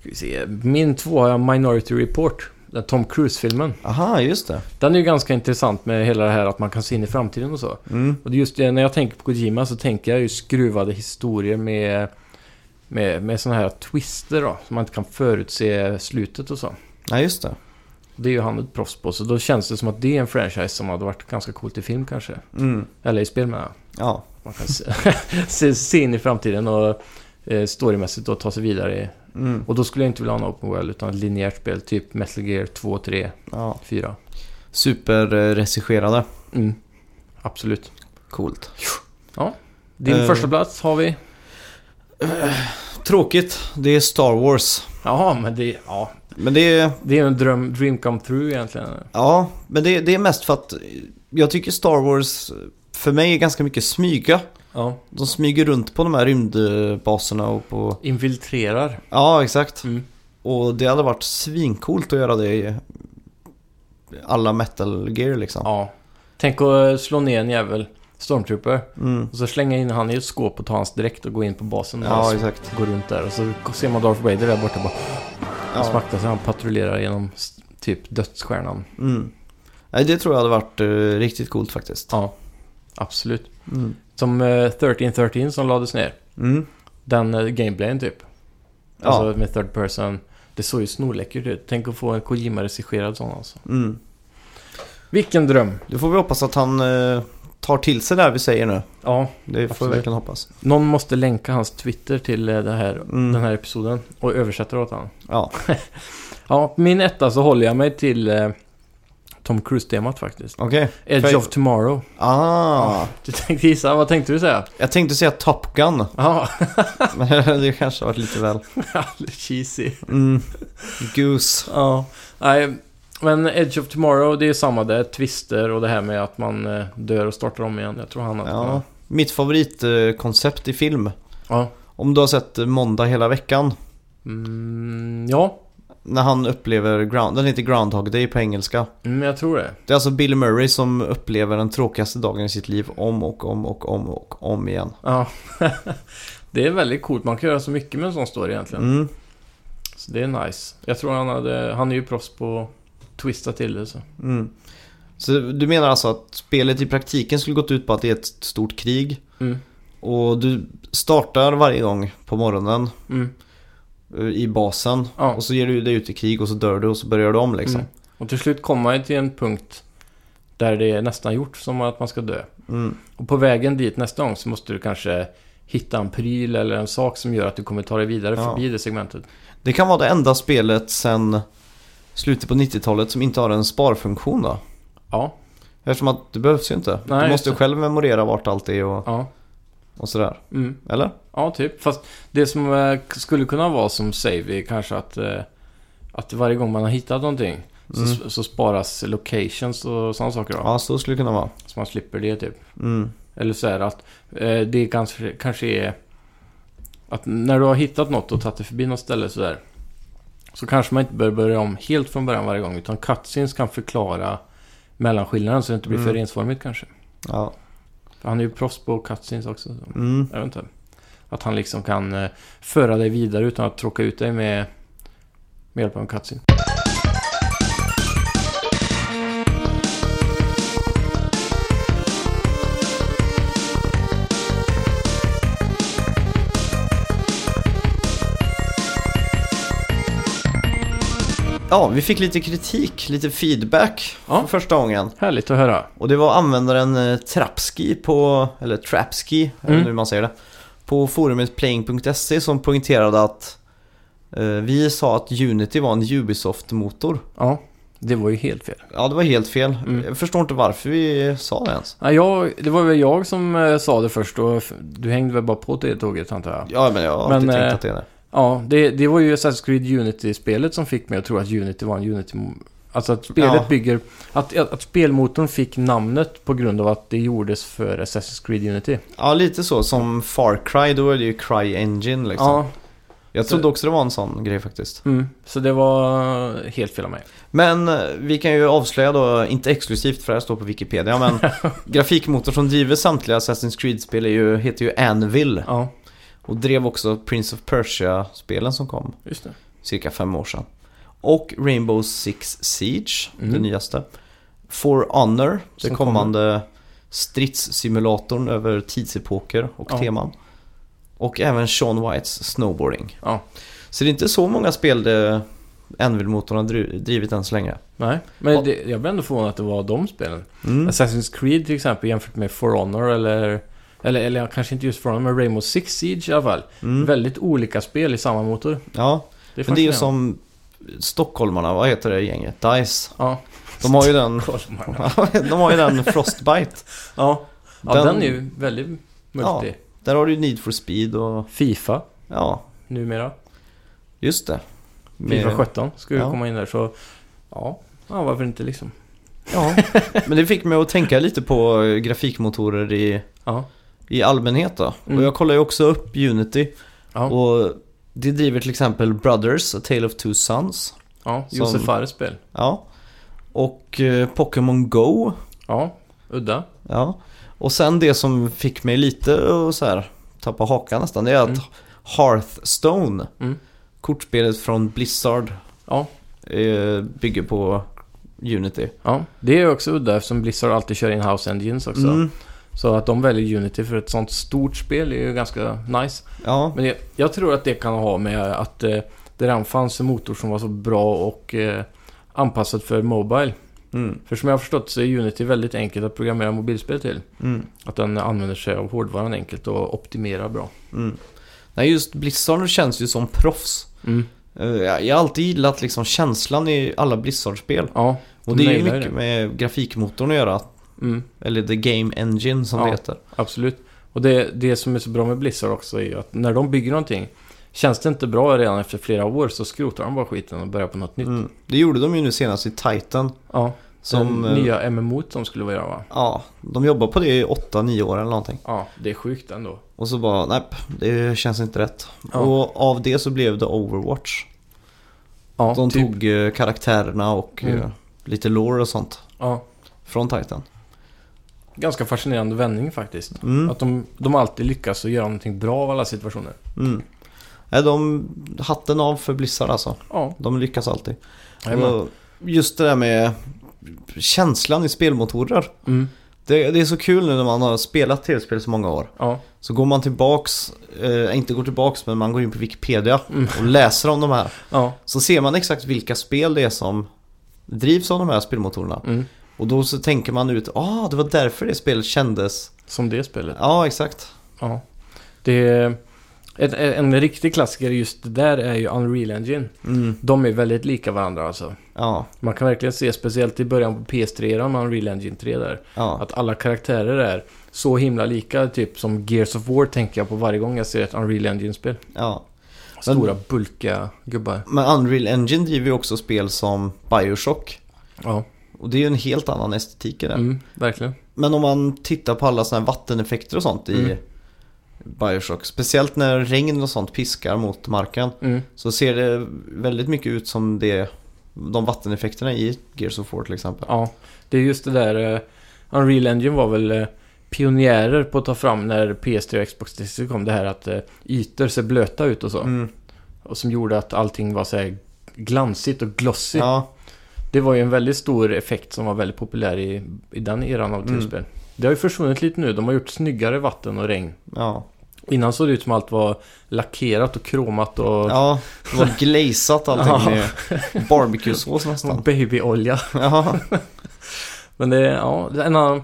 [SPEAKER 2] Ska vi se. Min två har jag Minority Report. Den Tom Cruise-filmen.
[SPEAKER 1] Aha, just det.
[SPEAKER 2] Den är ju ganska intressant med hela det här att man kan se in i framtiden och så.
[SPEAKER 1] Mm.
[SPEAKER 2] Och det är just det, när jag tänker på Kojima så tänker jag ju skruvade historier med, med, med sådana här twister då. Så man inte kan förutse slutet och så.
[SPEAKER 1] Ja, just det.
[SPEAKER 2] Det är ju han ett proffs på. Så då känns det som att det är en franchise som hade varit ganska coolt i film kanske.
[SPEAKER 1] Mm.
[SPEAKER 2] Eller i spel menar jag.
[SPEAKER 1] Ja,
[SPEAKER 2] Man kan se, se, se in i framtiden och eh, storymässigt då ta sig vidare. i-
[SPEAKER 1] mm.
[SPEAKER 2] Och då skulle jag inte vilja ha en open world utan ett linjärt spel. Typ Metal Gear 2, 3,
[SPEAKER 1] ja.
[SPEAKER 2] 4.
[SPEAKER 1] Superregisserade.
[SPEAKER 2] Mm. Absolut.
[SPEAKER 1] Coolt.
[SPEAKER 2] Din
[SPEAKER 1] Eh.
[SPEAKER 2] första plats har vi.
[SPEAKER 1] Tråkigt, det är Star Wars.
[SPEAKER 2] Jaha, men det... Ja.
[SPEAKER 1] Men det är,
[SPEAKER 2] Det är en dröm, dream come true egentligen.
[SPEAKER 1] ja, men det, det är mest för att jag tycker Star Wars för mig är ganska mycket smyga.
[SPEAKER 2] Ja.
[SPEAKER 1] De smyger runt på de här rymdbaserna och på...
[SPEAKER 2] Infiltrerar.
[SPEAKER 1] Ja, exakt.
[SPEAKER 2] Mm.
[SPEAKER 1] Och det hade varit svinkult att göra det i alla metal gear liksom.
[SPEAKER 2] Ja. Tänk att eh, slå ner en jävel, stormtrooper,
[SPEAKER 1] Mm.
[SPEAKER 2] och så slänga in han i ett skåp och ta hans dräkt och gå in på basen. och
[SPEAKER 1] Ja,
[SPEAKER 2] så
[SPEAKER 1] exakt.
[SPEAKER 2] Går runt där och så ser man Darth Vader där borta bara. Han
[SPEAKER 1] Ja.
[SPEAKER 2] smaktar sig, han patrullerar genom s- typ dödsstjärnan.
[SPEAKER 1] Mm. Nej, det tror jag hade varit eh, riktigt coolt faktiskt.
[SPEAKER 2] Ja, absolut.
[SPEAKER 1] Mm.
[SPEAKER 2] Som eh, 1313 som lades ner.
[SPEAKER 1] Mm.
[SPEAKER 2] Den eh, gameplayen typ.
[SPEAKER 1] Ja.
[SPEAKER 2] Alltså med third person. Det såg ju snorläckert ut. Tänk att få en Kojima-regisserad sån alltså.
[SPEAKER 1] Mm.
[SPEAKER 2] Vilken dröm!
[SPEAKER 1] Då får vi hoppas att han eh, tar till sig det här vi säger nu.
[SPEAKER 2] Ja,
[SPEAKER 1] Det får
[SPEAKER 2] Absolut.
[SPEAKER 1] vi verkligen hoppas.
[SPEAKER 2] Någon måste länka hans Twitter till eh, det här,
[SPEAKER 1] Mm.
[SPEAKER 2] den här episoden och översätta det åt honom.
[SPEAKER 1] Ja,
[SPEAKER 2] Ja, på min etta så håller jag mig till eh, Tom Cruise-temat faktiskt.
[SPEAKER 1] okej.
[SPEAKER 2] Edge
[SPEAKER 1] För-
[SPEAKER 2] of Tomorrow.
[SPEAKER 1] Ah,
[SPEAKER 2] Du tänkte gissa, vad tänkte du säga?
[SPEAKER 1] jag tänkte säga Top Gun,
[SPEAKER 2] Ja,
[SPEAKER 1] men det kanske har varit lite väl.
[SPEAKER 2] cheesy.
[SPEAKER 1] Mm. Goose.
[SPEAKER 2] Ja, nej. Men Edge of Tomorrow, det är samma där. Twister och det här med att man eh, dör och startar om igen. Jag tror han att
[SPEAKER 1] Ja. Mitt favoritkoncept i film.
[SPEAKER 2] ja.
[SPEAKER 1] Om du har sett eh, Måndag hela veckan.
[SPEAKER 2] Mm, ja,
[SPEAKER 1] När han upplever ground, den heter Groundhog Day på engelska.
[SPEAKER 2] mm, jag tror det.
[SPEAKER 1] Det är alltså Bill Murray som upplever den tråkigaste dagen i sitt liv om och om och om och om igen.
[SPEAKER 2] Ja. det är väldigt coolt. Man kan göra så mycket med en sån story egentligen.
[SPEAKER 1] Mm.
[SPEAKER 2] Så det är nice. Jag tror han hade... Han är ju proffs på att twista till det så.
[SPEAKER 1] Mm. Så du menar alltså att spelet i praktiken skulle gått ut på att det är ett stort krig
[SPEAKER 2] Mm.
[SPEAKER 1] och du startar varje gång på morgonen
[SPEAKER 2] Mm.
[SPEAKER 1] eh, i basen.
[SPEAKER 2] Ja.
[SPEAKER 1] Och så ger du dig ut i krig och så dör du och så börjar du om liksom.
[SPEAKER 2] Mm. Och till slut kommer man ju till en punkt där det är nästan gjort som att man ska dö.
[SPEAKER 1] Mm.
[SPEAKER 2] Och på vägen dit nästa gång så måste du kanske hitta en pryl eller en sak som gör att du kommer ta dig vidare
[SPEAKER 1] Ja.
[SPEAKER 2] förbi det segmentet.
[SPEAKER 1] Det kan vara det enda spelet sen slutet på 90-talet som inte har en sparfunktion då.
[SPEAKER 2] Ja,
[SPEAKER 1] Eftersom att det behövs ju inte.
[SPEAKER 2] Nej,
[SPEAKER 1] du
[SPEAKER 2] just
[SPEAKER 1] måste ju
[SPEAKER 2] det.
[SPEAKER 1] själv memorera vart allt är och,
[SPEAKER 2] ja,
[SPEAKER 1] och sådär.
[SPEAKER 2] mm.
[SPEAKER 1] Eller?
[SPEAKER 2] ja typ. Fast det som eh, skulle kunna vara som save är kanske att, eh, att varje gång man har hittat någonting så, så sparas locations och sådana saker då.
[SPEAKER 1] Mm. Ja, så skulle det kunna vara.
[SPEAKER 2] Så man slipper det typ.
[SPEAKER 1] Mm.
[SPEAKER 2] Eller så är det att eh, det kanske, kanske är att när du har hittat något och tagit dig förbi något ställe sådär. Så kanske man inte bör börja om helt från början varje gång. Utan cutscenes kan förklara mellanskillnaden så det inte blir för
[SPEAKER 1] Mm.
[SPEAKER 2] ensformigt kanske.
[SPEAKER 1] Ja.
[SPEAKER 2] För han är ju proffs på cutscenes också. Så.
[SPEAKER 1] Mm.
[SPEAKER 2] Jag vet inte. Att han liksom kan eh, föra dig vidare utan att tråka ut dig med, med hjälp av en cutscene.
[SPEAKER 1] Ja, vi fick lite kritik, lite feedback
[SPEAKER 2] Ja.
[SPEAKER 1] för första gången.
[SPEAKER 2] Härligt att höra.
[SPEAKER 1] Och det var användaren eh, Trapski på, eller Trapski, eller
[SPEAKER 2] Mm.
[SPEAKER 1] hur man säger det, på forumet playing.se som poängterade att eh, vi sa att Unity var en Ubisoft-motor.
[SPEAKER 2] Ja, det var ju helt fel.
[SPEAKER 1] Ja, det var helt fel.
[SPEAKER 2] Mm.
[SPEAKER 1] Jag förstår inte varför vi sa det ens.
[SPEAKER 2] Ja, jag, det var väl jag som eh, sa det först och f- du hängde väl bara på det tåget antar jag.
[SPEAKER 1] Ja, men jag har alltid
[SPEAKER 2] Men,
[SPEAKER 1] tänkt
[SPEAKER 2] eh,
[SPEAKER 1] att det är det.
[SPEAKER 2] Ja, det, det var ju Assassin's Creed Unity-spelet som fick mig att tro att Unity var en Unity... Alltså att spelet
[SPEAKER 1] Ja.
[SPEAKER 2] bygger... Att, att, att spelmotorn fick namnet på grund av att det gjordes för Assassin's Creed Unity.
[SPEAKER 1] Ja, lite så som Far Cry, då är det ju Cry Engine liksom.
[SPEAKER 2] Ja,
[SPEAKER 1] jag trodde också det var en sån grej faktiskt.
[SPEAKER 2] mm, så det var helt fel av mig.
[SPEAKER 1] Men eh, vi kan ju avslöja då, inte exklusivt för det här står på Wikipedia, men grafikmotorn som driver samtliga Assassin's Creed-spel är ju, heter ju Anvil.
[SPEAKER 2] Ja,
[SPEAKER 1] Och drev också Prince of Persia-spelen som kom
[SPEAKER 2] just det.
[SPEAKER 1] cirka fem år sedan. Och Rainbow Six Siege, det
[SPEAKER 2] Mm.
[SPEAKER 1] nyaste. For Honor, det
[SPEAKER 2] Som
[SPEAKER 1] kommande stridssimulatorn över tidsepoker och
[SPEAKER 2] Ja.
[SPEAKER 1] teman. Och även Sean Whites Snowboarding.
[SPEAKER 2] Ja.
[SPEAKER 1] Så det är inte så många spel det Anvil-motorn har dri- drivit än så länge.
[SPEAKER 2] Nej,
[SPEAKER 1] Ja.
[SPEAKER 2] men det, jag blev ändå förvånad att det var de spelen.
[SPEAKER 1] Mm.
[SPEAKER 2] Assassin's Creed till exempel jämfört med For Honor eller... Eller, eller ja, kanske inte just For Honor, men Rainbow Six Siege i alla fall.
[SPEAKER 1] Mm.
[SPEAKER 2] Väldigt olika spel i samma motor.
[SPEAKER 1] Ja,
[SPEAKER 2] Det är
[SPEAKER 1] men det är ju
[SPEAKER 2] fascinerande.
[SPEAKER 1] som stockholmarna, vad heter det gänget? DICE.
[SPEAKER 2] Ja.
[SPEAKER 1] De har ju den,
[SPEAKER 2] Kolmarna.
[SPEAKER 1] de har ju den Frostbite.
[SPEAKER 2] Ja, ja
[SPEAKER 1] Den-
[SPEAKER 2] den, är ju väldigt multi.
[SPEAKER 1] Där har du ju Need for Speed och
[SPEAKER 2] Fifa
[SPEAKER 1] ja,
[SPEAKER 2] numera.
[SPEAKER 1] just det.
[SPEAKER 2] Fifa
[SPEAKER 1] Med-
[SPEAKER 2] 17 ska ju
[SPEAKER 1] Ja.
[SPEAKER 2] komma in där så... Ja. ja, varför inte liksom?
[SPEAKER 1] Ja, men det fick mig att tänka lite på eh, grafikmotorer i,
[SPEAKER 2] Ja,
[SPEAKER 1] i allmänhet då.
[SPEAKER 2] Mm.
[SPEAKER 1] Och jag kollar ju också upp Unity
[SPEAKER 2] ja,
[SPEAKER 1] och det driver till exempel Brothers, A Tale of Two Sons.
[SPEAKER 2] ja.
[SPEAKER 1] som-
[SPEAKER 2] Josef Fares spel.
[SPEAKER 1] Ja. Och eh, Pokémon Go.
[SPEAKER 2] Ja, udda.
[SPEAKER 1] Ja. Och sen det som fick mig lite att så här, tappa hakan nästan, det är att
[SPEAKER 2] Mm.
[SPEAKER 1] Hearthstone,
[SPEAKER 2] Mm.
[SPEAKER 1] kortspelet från Blizzard,
[SPEAKER 2] Ja,
[SPEAKER 1] eh, bygger på Unity.
[SPEAKER 2] ja, det är också udda eftersom Blizzard alltid kör in-house engines också.
[SPEAKER 1] Mm.
[SPEAKER 2] Så att de väljer Unity för ett sånt stort spel är ju ganska nice.
[SPEAKER 1] Ja,
[SPEAKER 2] Men jag, jag tror att det kan ha med att eh, det redan fanns en motor som var så bra och eh, anpassad för Mobile.
[SPEAKER 1] mm,
[SPEAKER 2] För som jag har förstått så är Unity väldigt enkelt att programmera mobilspel till.
[SPEAKER 1] mm,
[SPEAKER 2] Att den använder sig av hårdvaran enkelt och optimerar bra.
[SPEAKER 1] mm. Nej, just Blizzard känns ju som proffs.
[SPEAKER 2] Mm.
[SPEAKER 1] Eh, Jag jag har alltid gillat liksom känslan i alla Blizzard-spel.
[SPEAKER 2] Ja,
[SPEAKER 1] Och det är ju
[SPEAKER 2] nailar
[SPEAKER 1] mycket med grafikmotorn att göra.
[SPEAKER 2] Mm,
[SPEAKER 1] Eller The Game Engine som det
[SPEAKER 2] Ja.
[SPEAKER 1] heter.
[SPEAKER 2] absolut. Och det, det som är så bra med Blizzard också är ju att när de bygger någonting Känns det inte bra redan efter flera år så skrotar de bara skiten och börjar på något nytt.
[SPEAKER 1] Mm. Det gjorde de ju nu senast i Titan.
[SPEAKER 2] Ja,
[SPEAKER 1] Som,
[SPEAKER 2] som
[SPEAKER 1] eh,
[SPEAKER 2] nya MMO t de skulle vilja göra va?
[SPEAKER 1] Ja, de jobbar på det i 8-9 år eller någonting.
[SPEAKER 2] Ja, det är sjukt ändå.
[SPEAKER 1] Och så bara, nej, det känns inte rätt.
[SPEAKER 2] Ja.
[SPEAKER 1] Och av det så blev det Overwatch.
[SPEAKER 2] Ja,
[SPEAKER 1] de
[SPEAKER 2] typ.
[SPEAKER 1] tog eh, karaktärerna och
[SPEAKER 2] Mm.
[SPEAKER 1] eh, lite lore och sånt
[SPEAKER 2] Ja,
[SPEAKER 1] från Titan.
[SPEAKER 2] ganska fascinerande vändning faktiskt.
[SPEAKER 1] Mm.
[SPEAKER 2] Att de, de alltid lyckas att göra någonting bra av alla situationer.
[SPEAKER 1] Mm. Är de hatten av för Blizzard alltså.
[SPEAKER 2] Ja,
[SPEAKER 1] De lyckas alltid.
[SPEAKER 2] jajamän.
[SPEAKER 1] Och Just det där med känslan i spelmotorer.
[SPEAKER 2] mm.
[SPEAKER 1] Det, det är så kul nu när man har spelat tv-spel så många år.
[SPEAKER 2] Ja,
[SPEAKER 1] Så går man tillbaks, eh, inte går tillbaks men man går in på Wikipedia
[SPEAKER 2] Mm.
[SPEAKER 1] och läser om de här.
[SPEAKER 2] ja,
[SPEAKER 1] Så ser man exakt vilka spel det är som drivs av de här spelmotorerna.
[SPEAKER 2] mm.
[SPEAKER 1] Och då så tänker man ut, ah det var därför det spelet kändes.
[SPEAKER 2] som det spelet.
[SPEAKER 1] Ja exakt.
[SPEAKER 2] Ja. Det är, en, en riktig klassiker just där är ju Unreal Engine.
[SPEAKER 1] Mm.
[SPEAKER 2] De är väldigt lika varandra alltså.
[SPEAKER 1] Ja,
[SPEAKER 2] Man kan verkligen se, speciellt i början på PS3 med Unreal Engine 3 där,
[SPEAKER 1] ja,
[SPEAKER 2] att alla karaktärer är så himla lika, typ som Gears of War tänker jag på varje gång jag ser ett Unreal Engine-spel.
[SPEAKER 1] ja.
[SPEAKER 2] Stora bulka gubbar.
[SPEAKER 1] Men Unreal Engine driver ju också spel som Bioshock.
[SPEAKER 2] Ja,
[SPEAKER 1] Och det är ju en helt annan estetik i det.
[SPEAKER 2] mm, verkligen.
[SPEAKER 1] Men om man tittar på alla sådana här vatteneffekter och sånt i
[SPEAKER 2] Mm.
[SPEAKER 1] Bioshock. Speciellt när regn och sånt piskar mot marken.
[SPEAKER 2] Mm.
[SPEAKER 1] Så ser det väldigt mycket ut som det, de vatteneffekterna i Gears of War till exempel.
[SPEAKER 2] Ja, det är just det där. eh, Unreal Engine var väl eh, pionjärer på att ta fram när PS3 och Xbox 360 kom. Det här att eh, ytor ser blöta ut och så.
[SPEAKER 1] Mm.
[SPEAKER 2] Och som gjorde att allting var så här glansigt och glossy.
[SPEAKER 1] Ja,
[SPEAKER 2] Det var ju en väldigt stor effekt som var väldigt populär i, i den eran av
[SPEAKER 1] Mm.
[SPEAKER 2] tv-spel. Det har ju försvunnit lite nu. De har gjort snyggare vatten och regn.
[SPEAKER 1] ja.
[SPEAKER 2] Innan såg det ut som allt var lackerat och kromat och,
[SPEAKER 1] ja, det var glazat allting med barbecuesås
[SPEAKER 2] och
[SPEAKER 1] nästan.
[SPEAKER 2] babyolja.
[SPEAKER 1] Ja,
[SPEAKER 2] Men det är, ja, en annan,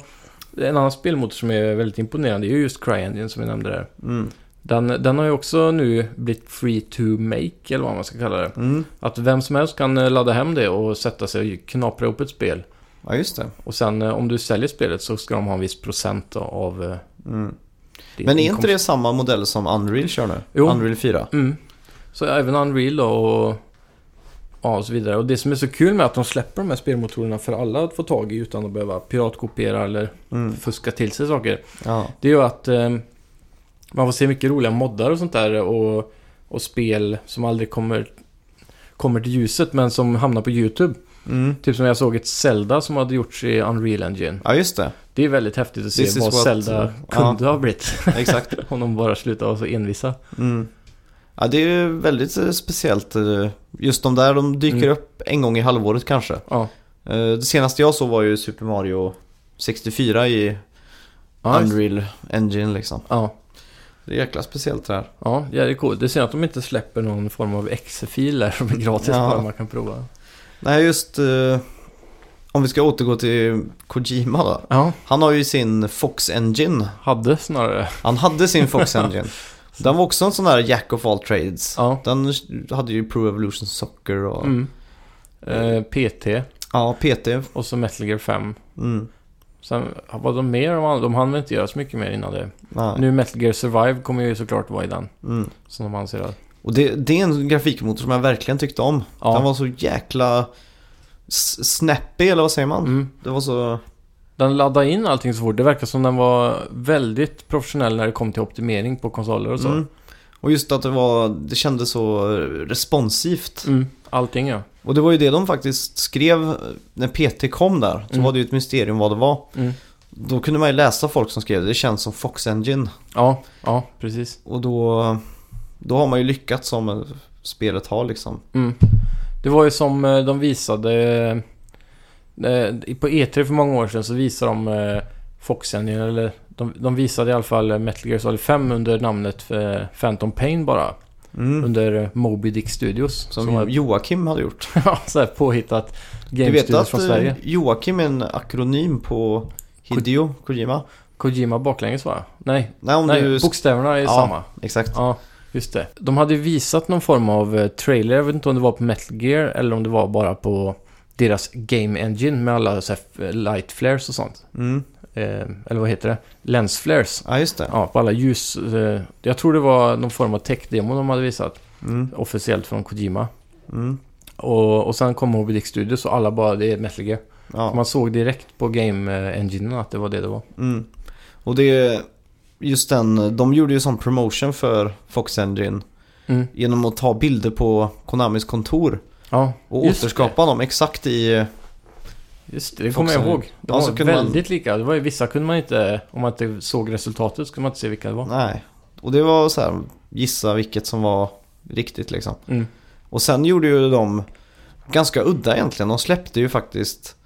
[SPEAKER 2] en annan spelmotor som är väldigt imponerande är ju just CryEngine som vi nämnde där.
[SPEAKER 1] mm.
[SPEAKER 2] Den, den har ju också nu blivit free to make, eller vad man ska kalla det.
[SPEAKER 1] Mm.
[SPEAKER 2] Att vem som helst kan eh, ladda hem det och sätta sig och knapra upp ett spel.
[SPEAKER 1] ja just det.
[SPEAKER 2] Och sen eh, om du säljer spelet så ska de ha en viss procent av eh,
[SPEAKER 1] Mm.
[SPEAKER 2] din
[SPEAKER 1] Men är
[SPEAKER 2] inkomst.
[SPEAKER 1] inte det samma modell som Unreal kör nu?
[SPEAKER 2] Jo.
[SPEAKER 1] Unreal 4?
[SPEAKER 2] Mm. Så även Unreal då och, ja, och så vidare. Och det som är så kul med att de släpper de här spelmotorerna för alla att få tag i utan att behöva piratkopiera eller
[SPEAKER 1] Mm.
[SPEAKER 2] fuska till sig saker.
[SPEAKER 1] Ja.
[SPEAKER 2] Det gör att eh, man får se mycket roliga moddar och sånt där och, och spel som aldrig kommer, kommer till ljuset men som hamnar på YouTube.
[SPEAKER 1] Mm.
[SPEAKER 2] Typ som jag såg ett Zelda som hade gjorts i Unreal Engine.
[SPEAKER 1] ja, just det.
[SPEAKER 2] Det är väldigt häftigt att se
[SPEAKER 1] This is
[SPEAKER 2] vad
[SPEAKER 1] what- eh,
[SPEAKER 2] Zelda kunde ha blivit.
[SPEAKER 1] Exakt.
[SPEAKER 2] Om de bara slutade vara så envisa.
[SPEAKER 1] Mm. Ja, det är ju väldigt eh, speciellt. eh, Just de där, de dyker
[SPEAKER 2] Mm.
[SPEAKER 1] upp en gång i halvåret kanske.
[SPEAKER 2] Ja.
[SPEAKER 1] Eh, Det senaste jag såg var ju Super Mario 64 i
[SPEAKER 2] Ja, just-
[SPEAKER 1] Unreal Engine liksom.
[SPEAKER 2] ja.
[SPEAKER 1] Det är jäkla speciellt det här.
[SPEAKER 2] Ja, ja, det är coolt. Det är synd att de inte släpper någon form av exe-fil där som är gratis
[SPEAKER 1] Ja.
[SPEAKER 2] bara man kan prova.
[SPEAKER 1] Nej, just eh, om vi ska återgå till Kojima då.
[SPEAKER 2] Ja,
[SPEAKER 1] Han har ju sin Fox Engine.
[SPEAKER 2] hade snarare.
[SPEAKER 1] Han hade sin Fox Engine. Den var också en sån här Jack of all trades.
[SPEAKER 2] Ja.
[SPEAKER 1] Den hade ju Pro Evolution Soccer och
[SPEAKER 2] Mm. Eh, PT
[SPEAKER 1] ja, PT.
[SPEAKER 2] och så Metal Gear 5.
[SPEAKER 1] Mm.
[SPEAKER 2] Sen var de mer de andra, de hann väl inte göra så mycket mer innan det.
[SPEAKER 1] Ja.
[SPEAKER 2] Nu Metal Gear Survive kommer ju såklart vara i den.
[SPEAKER 1] Mm.
[SPEAKER 2] Som de anser att...
[SPEAKER 1] Och det, det är en grafikmotor som jag verkligen tyckte om.
[SPEAKER 2] Ja.
[SPEAKER 1] Den var så jäkla s- snappy, eller vad säger man?
[SPEAKER 2] Mm.
[SPEAKER 1] Det var så...
[SPEAKER 2] Den laddade in allting så fort. Det verkar som den var väldigt professionell när det kom till optimering på konsoler och så. Mm.
[SPEAKER 1] Mm. Och just att det var, det kändes så eh, responsivt.
[SPEAKER 2] Mm. Allting ja.
[SPEAKER 1] Och det var ju det de faktiskt skrev eh, när PT kom där. Så
[SPEAKER 2] Mm.
[SPEAKER 1] var det ju ett mysterium vad det var.
[SPEAKER 2] Mm.
[SPEAKER 1] Då kunde man ju läsa folk som skrev det, det känns som Fox Engine.
[SPEAKER 2] Ja, ja precis.
[SPEAKER 1] Och då, då har man ju lyckats som eh, spelet har liksom.
[SPEAKER 2] Mm. Det var ju som eh, de visade... eh, På E3 för många år sedan så visade de eh, Fox Engine, eller de, de visade i alla fall eh, Metal Gear Solid 5 under namnet eh, Phantom Pain bara.
[SPEAKER 1] Mm.
[SPEAKER 2] Under eh, Moby Dick Studios.
[SPEAKER 1] Som,
[SPEAKER 2] var-
[SPEAKER 1] Joakim hade gjort.
[SPEAKER 2] Ja, så här påhittat
[SPEAKER 1] Du
[SPEAKER 2] Game
[SPEAKER 1] vet
[SPEAKER 2] Studios
[SPEAKER 1] att
[SPEAKER 2] från
[SPEAKER 1] eh,
[SPEAKER 2] Sverige.
[SPEAKER 1] Joakim är en akronym på Hideo Kojima?
[SPEAKER 2] Kojima baklänges va? Nej,
[SPEAKER 1] Nej, om
[SPEAKER 2] nej
[SPEAKER 1] du...
[SPEAKER 2] bokstäverna är
[SPEAKER 1] Ja.
[SPEAKER 2] samma.
[SPEAKER 1] Exakt.
[SPEAKER 2] Ja, just det. De hade ju visat någon form av eh, trailer. Jag vet inte om det var på Metal Gear eller om det var bara på deras Game Engine med alla så här f- light flares och sånt.
[SPEAKER 1] Mm.
[SPEAKER 2] Eh, eller vad heter det? Lens flares.
[SPEAKER 1] Ja, just det.
[SPEAKER 2] Ja, på alla ljus. Eh, jag tror det var någon form av tech-demo de hade visat
[SPEAKER 1] Mm.
[SPEAKER 2] officiellt från Kojima.
[SPEAKER 1] Mm.
[SPEAKER 2] Och, och sen kom Moby Dick Studios och alla bara, det är Metal Gear.
[SPEAKER 1] Ja.
[SPEAKER 2] Man såg direkt på Game eh, Engine att det var det det var.
[SPEAKER 1] Mm. Och det är just den, de gjorde ju sån promotion för Fox Engine
[SPEAKER 2] Mm.
[SPEAKER 1] genom att ta bilder på Konamis kontor
[SPEAKER 2] Ja,
[SPEAKER 1] och
[SPEAKER 2] Just
[SPEAKER 1] återskapa dem exakt i...
[SPEAKER 2] just det. Det kommer jag
[SPEAKER 1] Foxen.
[SPEAKER 2] ihåg. De
[SPEAKER 1] Ja, så
[SPEAKER 2] var
[SPEAKER 1] kunde man-
[SPEAKER 2] väldigt lika. Det var ju, vissa kunde man inte, om man inte såg resultatet, så kunde man inte se vilka det var.
[SPEAKER 1] Nej. Och det var så här, gissa vilket som var riktigt liksom.
[SPEAKER 2] Mm.
[SPEAKER 1] Och sen gjorde ju de ganska udda egentligen. De släppte ju faktiskt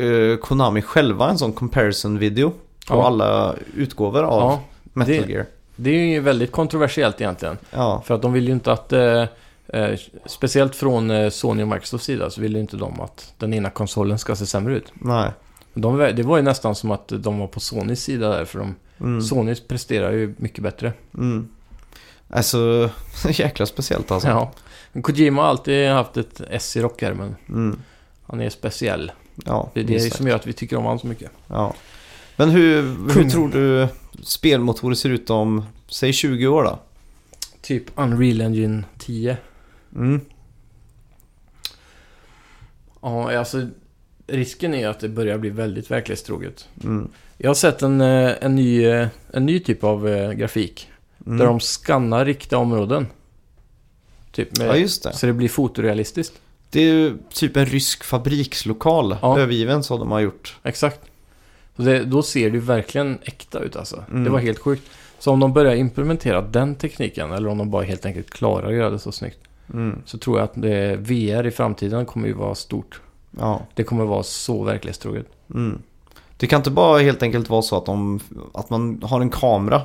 [SPEAKER 1] eh, Konami själva en sån comparison video på
[SPEAKER 2] Ja.
[SPEAKER 1] alla utgåvor av
[SPEAKER 2] Ja,
[SPEAKER 1] Metal
[SPEAKER 2] det-
[SPEAKER 1] Gear.
[SPEAKER 2] det är ju väldigt kontroversiellt egentligen.
[SPEAKER 1] Ja,
[SPEAKER 2] För att de vill ju inte att, eh, eh, speciellt från eh, Sony och Microsofts sida, så vill ju inte de att den ena konsolen ska se sämre ut.
[SPEAKER 1] nej.
[SPEAKER 2] De, det var ju nästan som att de var på Sonys sida där, för de,
[SPEAKER 1] Mm.
[SPEAKER 2] Sony presterar ju mycket bättre.
[SPEAKER 1] Mm. Alltså, jäkla speciellt alltså.
[SPEAKER 2] Ja. Men Kojima har alltid haft ett S i rockärmen.
[SPEAKER 1] Mm.
[SPEAKER 2] Han är speciell.
[SPEAKER 1] Ja,
[SPEAKER 2] Det är det
[SPEAKER 1] minst sagt.
[SPEAKER 2] som gör att vi tycker om honom så mycket.
[SPEAKER 1] ja. Men hur, hur
[SPEAKER 2] Kung.
[SPEAKER 1] tror du spelmotorer ser ut om, säg 20 år då?
[SPEAKER 2] Typ Unreal Engine 10.
[SPEAKER 1] Mm.
[SPEAKER 2] Ja, alltså risken är att det börjar bli väldigt verklighetstroget.
[SPEAKER 1] Mm.
[SPEAKER 2] Jag har sett en, eh, en, ny, eh, en ny typ av eh, grafik.
[SPEAKER 1] Mm.
[SPEAKER 2] Där de skannar riktiga områden. Typ med,
[SPEAKER 1] Ja, just det.
[SPEAKER 2] Så det blir fotorealistiskt.
[SPEAKER 1] Det är ju typ en rysk fabrikslokal
[SPEAKER 2] Ja.
[SPEAKER 1] övergiven som de har gjort.
[SPEAKER 2] Exakt. Så det, då ser det ju verkligen äkta ut alltså.
[SPEAKER 1] Mm.
[SPEAKER 2] Det var helt sjukt. Så om de börjar implementera den tekniken, eller om de bara helt enkelt klarar att göra det så snyggt,
[SPEAKER 1] Mm.
[SPEAKER 2] så tror jag att det, VR i framtiden kommer ju vara stort.
[SPEAKER 1] Ja.
[SPEAKER 2] Det kommer vara så verklighetstroget.
[SPEAKER 1] Mm. Det kan inte bara helt enkelt vara så att, de, att man har en kamera.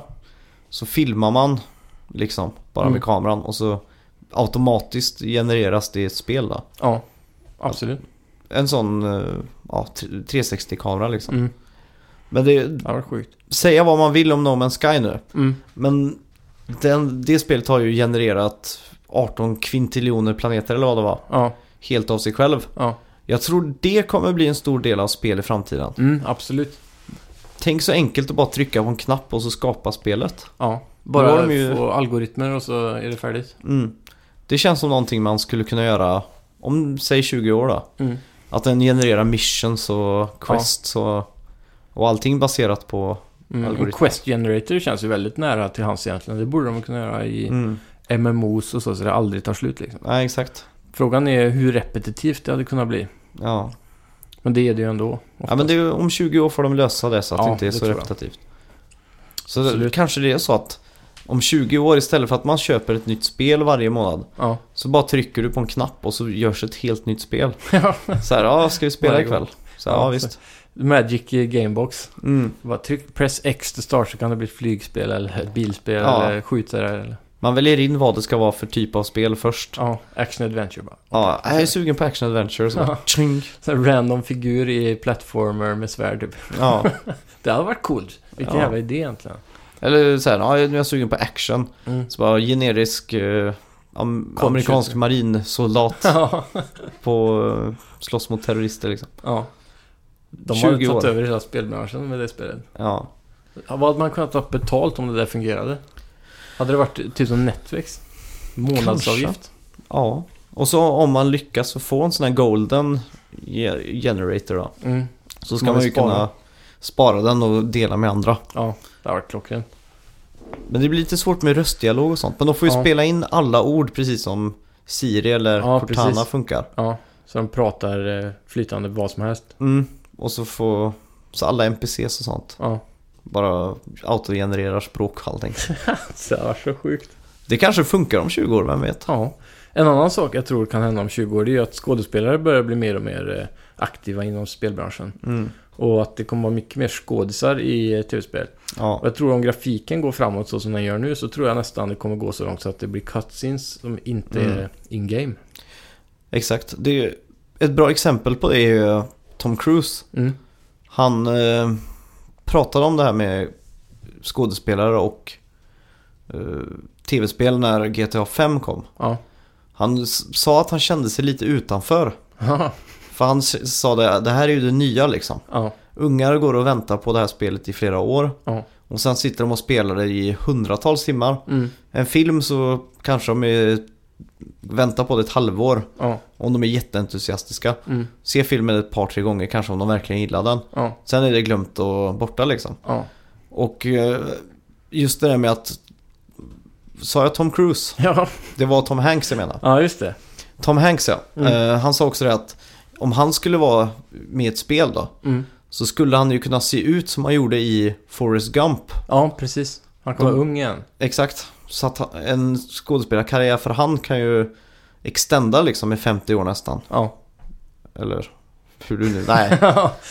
[SPEAKER 1] Så filmar man liksom bara
[SPEAKER 2] Mm.
[SPEAKER 1] med kameran och så automatiskt genereras det ett spel då.
[SPEAKER 2] Ja, absolut.
[SPEAKER 1] En sån eh, ja, 360-kamera liksom.
[SPEAKER 2] Mm.
[SPEAKER 1] Men det,
[SPEAKER 2] Det var sjukt.
[SPEAKER 1] säga vad man vill om No Man's Sky nu.
[SPEAKER 2] Mm.
[SPEAKER 1] Men den, det spelet har ju genererat 18 kvintiljoner planeter eller vad det var.
[SPEAKER 2] Ja,
[SPEAKER 1] Helt av sig själv.
[SPEAKER 2] ja.
[SPEAKER 1] Jag tror det kommer bli en stor del av spel i framtiden.
[SPEAKER 2] Mm, absolut.
[SPEAKER 1] Tänk så enkelt att bara trycka på en knapp och så skapa spelet.
[SPEAKER 2] Ja.
[SPEAKER 1] Då har
[SPEAKER 2] Bara
[SPEAKER 1] de ju-
[SPEAKER 2] få algoritmer och så är det färdigt.
[SPEAKER 1] Mm. Det känns som någonting man skulle kunna göra om, säg 20 år då.
[SPEAKER 2] Mm.
[SPEAKER 1] Att den genererar missions och quests och, och allting baserat på...
[SPEAKER 2] Mm.
[SPEAKER 1] Algoritmer.
[SPEAKER 2] Och Quest Generator känns ju väldigt nära till hans egentligen. Det borde de kunna göra i
[SPEAKER 1] Mm.
[SPEAKER 2] MMOs och så, så det aldrig tar slut liksom.
[SPEAKER 1] Nej, exakt.
[SPEAKER 2] Frågan är hur repetitivt det hade kunnat bli.
[SPEAKER 1] Ja.
[SPEAKER 2] Men det är det ju ändå.
[SPEAKER 1] ja, men det, är- om 20 år får de lösa det så att det
[SPEAKER 2] Ja,
[SPEAKER 1] inte är
[SPEAKER 2] det
[SPEAKER 1] så
[SPEAKER 2] tror jag.
[SPEAKER 1] repetitivt. Så
[SPEAKER 2] Absolut.
[SPEAKER 1] kanske det är så att om 20 år istället för att man köper ett nytt spel varje månad
[SPEAKER 2] Ja.
[SPEAKER 1] så bara trycker du på en knapp och så görs ett helt nytt spel. Så här, ja, ska vi spela
[SPEAKER 2] Varje gång.
[SPEAKER 1] ikväll? Så, ja,
[SPEAKER 2] Ja,
[SPEAKER 1] visst.
[SPEAKER 2] Magic Gamebox.
[SPEAKER 1] Mm.
[SPEAKER 2] Bara tryck, press X to start så kan det bli ett flygspel eller ett bilspel
[SPEAKER 1] Ja.
[SPEAKER 2] eller skjutare eller...
[SPEAKER 1] Man väljer in vad det ska vara för typ av spel först.
[SPEAKER 2] Ja, action adventure bara.
[SPEAKER 1] Ja, jag är sugen på action adventure så.
[SPEAKER 2] Ja.
[SPEAKER 1] Tjing.
[SPEAKER 2] Så här random figur i plattformer med svärd typ.
[SPEAKER 1] Ja.
[SPEAKER 2] Det hade varit coolt. Vilken
[SPEAKER 1] Ja.
[SPEAKER 2] jävla idé egentligen.
[SPEAKER 1] Eller så här, ja, nu är jag sugen på action.
[SPEAKER 2] Mm.
[SPEAKER 1] Så bara generisk eh, am-
[SPEAKER 2] Cold
[SPEAKER 1] amerikansk
[SPEAKER 2] shooter.
[SPEAKER 1] marinsoldat
[SPEAKER 2] ja.
[SPEAKER 1] på eh, slåss mot terrorister liksom.
[SPEAKER 2] ja. De
[SPEAKER 1] 20
[SPEAKER 2] hade tagit
[SPEAKER 1] år.
[SPEAKER 2] över hela spelbranschen med det spelet.
[SPEAKER 1] Ja.
[SPEAKER 2] Ja, Vad hade man kunnat ta betalt om det där fungerade? Hade det varit typ som Netflix? Månadsavgift?
[SPEAKER 1] Ja. Och så om man lyckas få en sån här golden ge- generator då.
[SPEAKER 2] Mm.
[SPEAKER 1] Så ska
[SPEAKER 2] Man
[SPEAKER 1] man,
[SPEAKER 2] vill
[SPEAKER 1] ju
[SPEAKER 2] spara.
[SPEAKER 1] kunna spara den och dela med andra.
[SPEAKER 2] Ja, det hade varit klockrent.
[SPEAKER 1] Men det blir lite svårt med röstdialog och sånt. Men de får ju
[SPEAKER 2] Ja.
[SPEAKER 1] spela in alla ord precis som Siri eller
[SPEAKER 2] Ja,
[SPEAKER 1] Cortana
[SPEAKER 2] precis.
[SPEAKER 1] funkar.
[SPEAKER 2] Ja, så de pratar eh, flytande vad som helst.
[SPEAKER 1] Mm. Och så får så alla NPCs och sånt
[SPEAKER 2] Ja.
[SPEAKER 1] bara autogenererar språk och allting.
[SPEAKER 2] Det var så sjukt.
[SPEAKER 1] Det kanske funkar om 20 år, vem vet?
[SPEAKER 2] Ja. En annan sak jag tror kan hända om 20 år det är ju att skådespelare börjar bli mer och mer eh, aktiva inom spelbranschen.
[SPEAKER 1] Mm.
[SPEAKER 2] Och att det kommer vara mycket mer skådisar i eh, tv-spel. Och
[SPEAKER 1] Ja.
[SPEAKER 2] jag tror om grafiken går framåt så som den gör nu så tror jag nästan det kommer gå så långt så att det blir cutscenes som inte
[SPEAKER 1] Mm.
[SPEAKER 2] är in-game.
[SPEAKER 1] Exakt. Det är, ett bra exempel på det är ju Tom Cruise.
[SPEAKER 2] Mm.
[SPEAKER 1] Han eh, pratade om det här med skådespelare och eh, tv-spel när GTA 5 kom.
[SPEAKER 2] Ja.
[SPEAKER 1] Han s- sa att han kände sig lite utanför.
[SPEAKER 2] ja.
[SPEAKER 1] För han s- sa det, det här är ju det nya liksom.
[SPEAKER 2] Ja.
[SPEAKER 1] Ungar går och väntar på det här spelet i flera år.
[SPEAKER 2] Ja.
[SPEAKER 1] Och sen sitter de och spelar det i hundratals timmar.
[SPEAKER 2] Mm.
[SPEAKER 1] En film så kanske de är, väntar på det ett halvår.
[SPEAKER 2] Ja.
[SPEAKER 1] Om de är jätteentusiastiska.
[SPEAKER 2] Mm.
[SPEAKER 1] Se filmen ett par, tre gånger kanske om de verkligen gillar den.
[SPEAKER 2] Ja.
[SPEAKER 1] Sen är det glömt och borta liksom.
[SPEAKER 2] Ja.
[SPEAKER 1] Och eh, just det där med att... Sa jag Tom Cruise?
[SPEAKER 2] Ja.
[SPEAKER 1] Det var Tom Hanks jag menar.
[SPEAKER 2] ja, just det.
[SPEAKER 1] Tom Hanks ja.
[SPEAKER 2] Mm.
[SPEAKER 1] Eh, han sa också det att om han skulle vara med i ett spel då
[SPEAKER 2] Mm.
[SPEAKER 1] så skulle han ju kunna se ut som han gjorde i Forrest Gump.
[SPEAKER 2] Ja, precis. Han kommer
[SPEAKER 1] De-
[SPEAKER 2] vara ung igen.
[SPEAKER 1] Exakt. Så att ha- en skådespelarkarriär för han kan ju extenda liksom i 50 år nästan.
[SPEAKER 2] Ja.
[SPEAKER 1] Eller hur du nu... Nej, Nej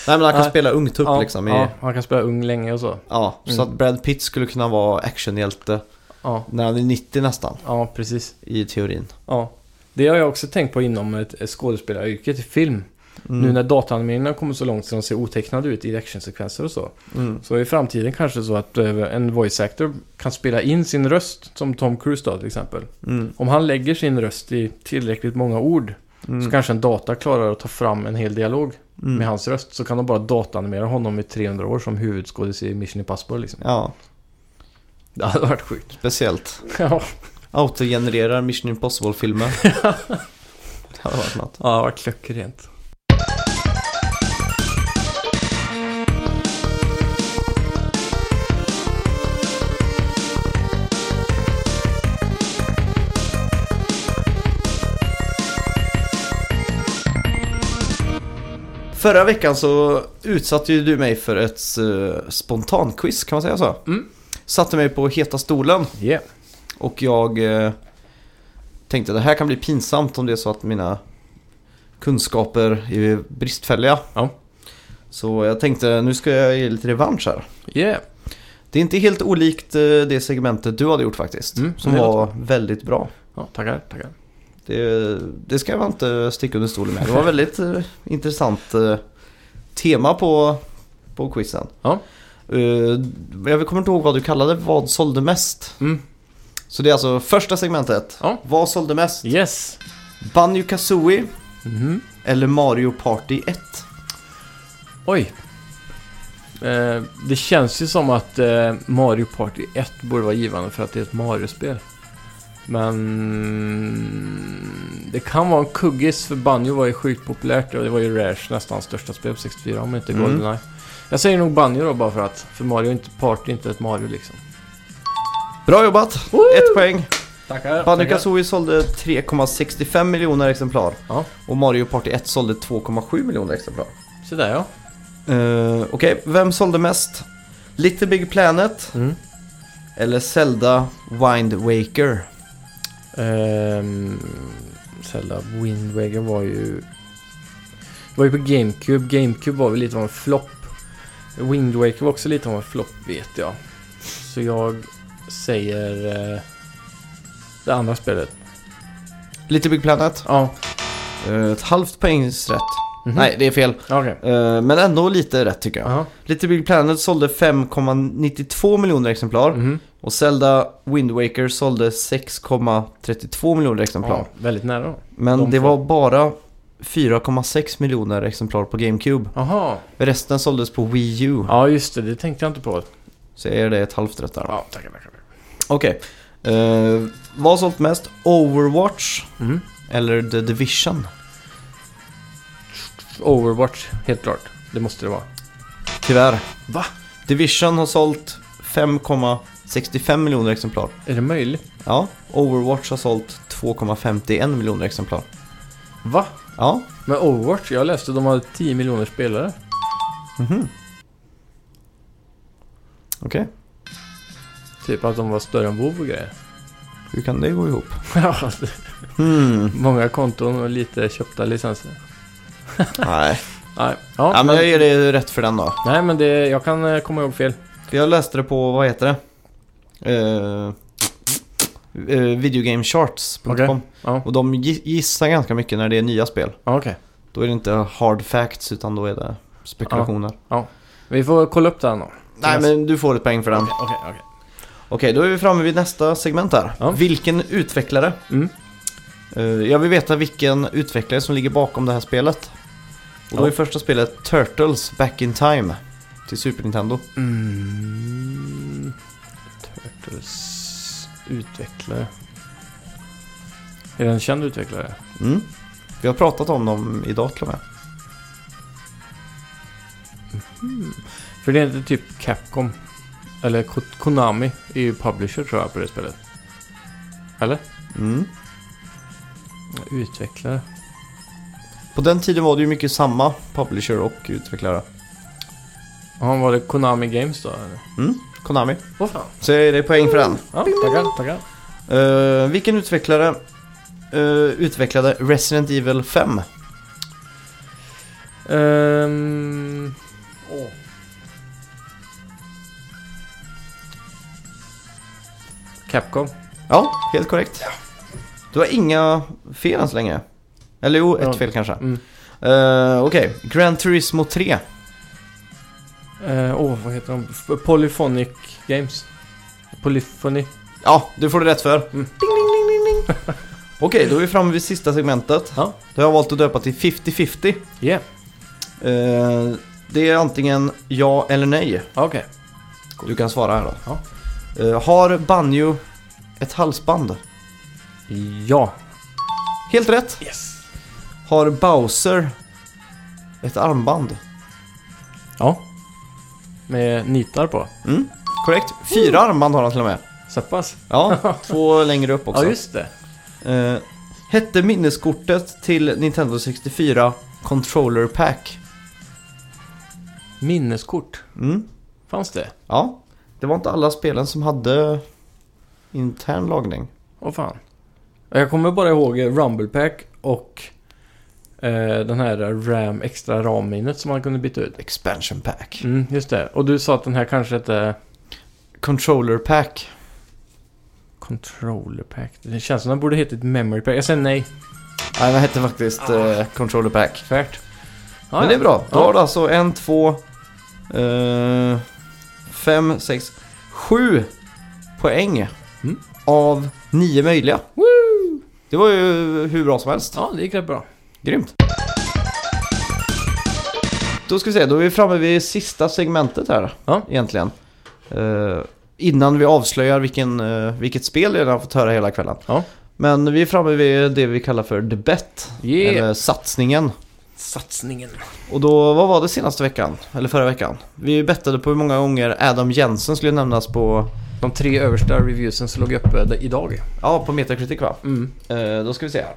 [SPEAKER 1] men han kan
[SPEAKER 2] Nej.
[SPEAKER 1] spela ungtupp liksom. I,
[SPEAKER 2] ja,
[SPEAKER 1] ja.
[SPEAKER 2] han kan spela ung länge och så.
[SPEAKER 1] Så
[SPEAKER 2] Mm.
[SPEAKER 1] att Brad Pitt skulle kunna vara actionhjälte
[SPEAKER 2] Ja,
[SPEAKER 1] när han är 90 nästan,
[SPEAKER 2] ja precis.
[SPEAKER 1] i teorin.
[SPEAKER 2] Ja. Det har jag också tänkt på inom ett ett skådespelaryrket i film.
[SPEAKER 1] Mm.
[SPEAKER 2] Nu när dataanimeringarna kommer så långt så de ser otecknade ut i actionsekvenser och så.
[SPEAKER 1] Mm.
[SPEAKER 2] Så i framtiden kanske så att eh, en voice actor kan spela in sin röst, som Tom Cruise då till exempel.
[SPEAKER 1] Mm.
[SPEAKER 2] Om han lägger sin röst i tillräckligt många ord så
[SPEAKER 1] Mm.
[SPEAKER 2] kanske en data klarar att ta fram en hel dialog med
[SPEAKER 1] Mm.
[SPEAKER 2] hans röst. Så kan de bara dataanimera honom i 300 år som huvudskådis i Mission Impossible liksom.
[SPEAKER 1] Ja,
[SPEAKER 2] Det hade varit sjukt.
[SPEAKER 1] speciellt.
[SPEAKER 2] ja,
[SPEAKER 1] Autogenererar Mission Impossible-filmer. det hade varit något.
[SPEAKER 2] det hade varit klockrent.
[SPEAKER 1] Förra veckan så utsatte ju du mig för ett eh, spontanquiz, kan man säga så?
[SPEAKER 2] Mm.
[SPEAKER 1] Satte mig på heta stolen
[SPEAKER 2] Yeah.
[SPEAKER 1] och jag eh, tänkte det här kan bli pinsamt om det är så att mina kunskaper är bristfälliga.
[SPEAKER 2] Ja.
[SPEAKER 1] Så jag tänkte nu ska jag ge lite revansch här.
[SPEAKER 2] Yeah.
[SPEAKER 1] Det är inte helt olikt eh, det segmentet du hade gjort faktiskt.
[SPEAKER 2] Mm,
[SPEAKER 1] som
[SPEAKER 2] det
[SPEAKER 1] var
[SPEAKER 2] låter
[SPEAKER 1] väldigt bra.
[SPEAKER 2] Ja, tackar, tackar.
[SPEAKER 1] Det, det ska jag inte sticka under stolen med. Det var väldigt eh, intressant eh, tema på, på quizen.
[SPEAKER 2] Ja.
[SPEAKER 1] Eh, jag kommer inte ihåg vad du kallade vad sålde mest.
[SPEAKER 2] Mm.
[SPEAKER 1] Så det är alltså första segmentet.
[SPEAKER 2] Ja.
[SPEAKER 1] Vad sålde mest?
[SPEAKER 2] Yes.
[SPEAKER 1] Banjo Kazooie
[SPEAKER 2] Mhm.
[SPEAKER 1] eller Mario Party 1?
[SPEAKER 2] Oj. Eh, det känns ju som att eh, Mario Party 1 borde vara givande för att det är ett Mario-spel. Men det kan vara en kuggis för Banjo var ju sjukt populärt och det var ju Rares nästan största spel på 64 om inte
[SPEAKER 1] Mm.
[SPEAKER 2] Goldeneye. Jag säger nog Banjo då bara för att, för Mario är inte Party, inte ett Mario liksom.
[SPEAKER 1] Bra jobbat! Ett poäng.
[SPEAKER 2] Tackar!
[SPEAKER 1] Banjo Kazooie sålde 3,65 miljoner exemplar.
[SPEAKER 2] Ja.
[SPEAKER 1] Och Mario Party 1 sålde 2,7 miljoner exemplar.
[SPEAKER 2] Så där ja.
[SPEAKER 1] Eh, Okej, vem sålde mest? Little Big Planet
[SPEAKER 2] Mm.
[SPEAKER 1] eller Zelda Wind Waker?
[SPEAKER 2] Ehm, Zelda Wind Waker var ju... Det var ju på GameCube. GameCube var väl lite av en flopp. Wind Waker var också lite av en flopp vet jag. Så jag säger eh, det andra spelet.
[SPEAKER 1] Little Big Planet.
[SPEAKER 2] Ja.
[SPEAKER 1] Eh, ett halvt poängs rätt.
[SPEAKER 2] Mhm.
[SPEAKER 1] Nej, det är fel.
[SPEAKER 2] Ja, Okej.
[SPEAKER 1] Eh, men ändå lite rätt tycker jag.
[SPEAKER 2] Jaha.
[SPEAKER 1] Little Big Planet sålde 5,92 miljoner exemplar.
[SPEAKER 2] Mhm.
[SPEAKER 1] Och Zelda Wind Waker sålde 6,32 miljoner exemplar.
[SPEAKER 2] Ja, väldigt nära då.
[SPEAKER 1] Men
[SPEAKER 2] de
[SPEAKER 1] det
[SPEAKER 2] två.
[SPEAKER 1] var bara 4,6 miljoner exemplar på GameCube.
[SPEAKER 2] Jaha.
[SPEAKER 1] Resten såldes på Wii U.
[SPEAKER 2] Ja just det, det tänkte jag inte på.
[SPEAKER 1] Så jag ger det ett halvt rätt där.
[SPEAKER 2] Ja, tackar, tackar. tackar.
[SPEAKER 1] Okej. Eh, vad har sålt mest? Overwatch
[SPEAKER 2] Mhm.
[SPEAKER 1] eller The Division?
[SPEAKER 2] Overwatch, helt klart. Det måste det vara.
[SPEAKER 1] Tyvärr.
[SPEAKER 2] Va?
[SPEAKER 1] Division har sålt 5,65 miljoner exemplar.
[SPEAKER 2] Är det möjligt?
[SPEAKER 1] Ja. Overwatch har sålt 2,51 miljoner exemplar.
[SPEAKER 2] Va?
[SPEAKER 1] Ja.
[SPEAKER 2] Men Overwatch, jag läste de hade 10 miljoner spelare.
[SPEAKER 1] Mhm. Okej.
[SPEAKER 2] Typ att de var större än WoW och grejer.
[SPEAKER 1] Hur kan det gå ihop?
[SPEAKER 2] Ja,
[SPEAKER 1] Hmm.
[SPEAKER 2] Många konton och lite köpta licenser.
[SPEAKER 1] Nej.
[SPEAKER 2] Nej, ja,
[SPEAKER 1] ja, men
[SPEAKER 2] men,
[SPEAKER 1] jag ger det rätt för den då.
[SPEAKER 2] nej, men det, jag kan eh, komma ihåg fel.
[SPEAKER 1] För Jag läste det på, vad heter det? Uh, eh, videogamecharts.com
[SPEAKER 2] Okej. Ja,
[SPEAKER 1] Och de gi- gissar ganska mycket när det är nya spel.
[SPEAKER 2] ja okej.
[SPEAKER 1] Då är det inte hard facts utan då är det spekulationer.
[SPEAKER 2] Vi får kolla upp det här då.
[SPEAKER 1] Nej men du får ett poäng för den.
[SPEAKER 2] Okej, okej, okej.
[SPEAKER 1] Okej, då är vi framme vid nästa segment här.
[SPEAKER 2] Ja.
[SPEAKER 1] Vilken utvecklare?
[SPEAKER 2] Mm.
[SPEAKER 1] Eh, jag vill veta vilken utvecklare som ligger bakom det här spelet. Och då
[SPEAKER 2] Ja.
[SPEAKER 1] är första spelet Turtles Back in Time till Super Nintendo.
[SPEAKER 2] Mm. Turtles utvecklare. Är det en känd utvecklare?
[SPEAKER 1] Mm. Vi har pratat om dem idag till och med.
[SPEAKER 2] För det är inte typ Capcom. Eller Ko- Konami är ju publisher tror jag på det spelet. Eller?
[SPEAKER 1] Mm.
[SPEAKER 2] Utvecklare.
[SPEAKER 1] På den tiden var det ju mycket samma publisher och utvecklare.
[SPEAKER 2] Ja, var det Konami Games då? Eller?
[SPEAKER 1] Mm. Konami.
[SPEAKER 2] Åh fan.
[SPEAKER 1] Så är det poäng för den.
[SPEAKER 2] Ja, tackar, tackar.
[SPEAKER 1] Eh, vilken utvecklare eh, utvecklade Resident Evil 5?
[SPEAKER 2] Ehm,
[SPEAKER 3] Åh.
[SPEAKER 2] Capcom.
[SPEAKER 1] Ja, helt korrekt. Du har inga fel än så länge. Eller jo, ett
[SPEAKER 2] Ja.
[SPEAKER 1] fel kanske.
[SPEAKER 2] Mm.
[SPEAKER 1] Eh, Okej, Gran Turismo 3.
[SPEAKER 2] Eh, Åh, vad heter de? F- Polyphonic Games. Polyphony.
[SPEAKER 1] Ja, du får det rätt för. Ding,
[SPEAKER 2] Mm.
[SPEAKER 1] ding, ding, ding, ding. Okej, då är vi framme vid sista segmentet.
[SPEAKER 2] Ja.
[SPEAKER 1] Det har jag valt att döpa till 50-50.
[SPEAKER 2] Yeah.
[SPEAKER 1] Eh, det är antingen ja eller nej.
[SPEAKER 2] Ah, Okej. Okay.
[SPEAKER 1] Du kan svara här då. Eh, har Banjo ett halsband?
[SPEAKER 2] Ja.
[SPEAKER 1] Helt rätt.
[SPEAKER 2] Yes.
[SPEAKER 1] Har Bowser ett armband?
[SPEAKER 2] Ja. Med nitar på.
[SPEAKER 1] Mm, korrekt. Fyra armband har han till och med.
[SPEAKER 2] Så pass.
[SPEAKER 1] Ja, två längre upp också.
[SPEAKER 2] Ja, just det.
[SPEAKER 1] Eh, hette minneskortet till Nintendo 64 Controller Pack?
[SPEAKER 2] Minneskort.
[SPEAKER 1] Mm.
[SPEAKER 2] Fanns det?
[SPEAKER 1] Ja, det var inte alla spelen som hade intern lagning.
[SPEAKER 2] Åh fan. Jag kommer bara ihåg Rumble Pack och eh, den här RAM, extra RAM-minnet som man kunde byta ut.
[SPEAKER 1] Expansion Pack.
[SPEAKER 2] Mm, just det. Och du sa att den här kanske hette
[SPEAKER 1] Controller Pack.
[SPEAKER 2] Controller Pack. Det känns som den borde hetat Memory Pack. Jag säger nej.
[SPEAKER 1] Nej, den hette faktiskt eh, Controller Pack.
[SPEAKER 2] Tvärt. Ah,
[SPEAKER 1] Men det är bra. Då
[SPEAKER 2] Ja.
[SPEAKER 1] har du alltså en, två, eh, fem, sex, sju poäng
[SPEAKER 2] Mm.
[SPEAKER 1] av nio möjliga. Det var ju hur bra som helst.
[SPEAKER 2] Ja, det gick rätt bra.
[SPEAKER 1] Grymt. Då ska vi se, då är vi framme vid sista segmentet här
[SPEAKER 2] Ja.
[SPEAKER 1] egentligen. Eh, innan vi avslöjar vilken, eh, vilket spel vi redan har fått höra hela kvällen.
[SPEAKER 2] Ja.
[SPEAKER 1] Men vi är framme vid det vi kallar för the bet,
[SPEAKER 2] Yeah.
[SPEAKER 1] eller satsningen.
[SPEAKER 2] Satsningen.
[SPEAKER 1] Och då, vad var det senaste veckan? Eller förra veckan? Vi bettade på hur många gånger Adam Jensen skulle nämnas på,
[SPEAKER 2] De tre översta reviewsen som låg uppe d- idag.
[SPEAKER 1] ja, på Metacritic va?
[SPEAKER 2] Mm.
[SPEAKER 1] Eh, då ska vi se här.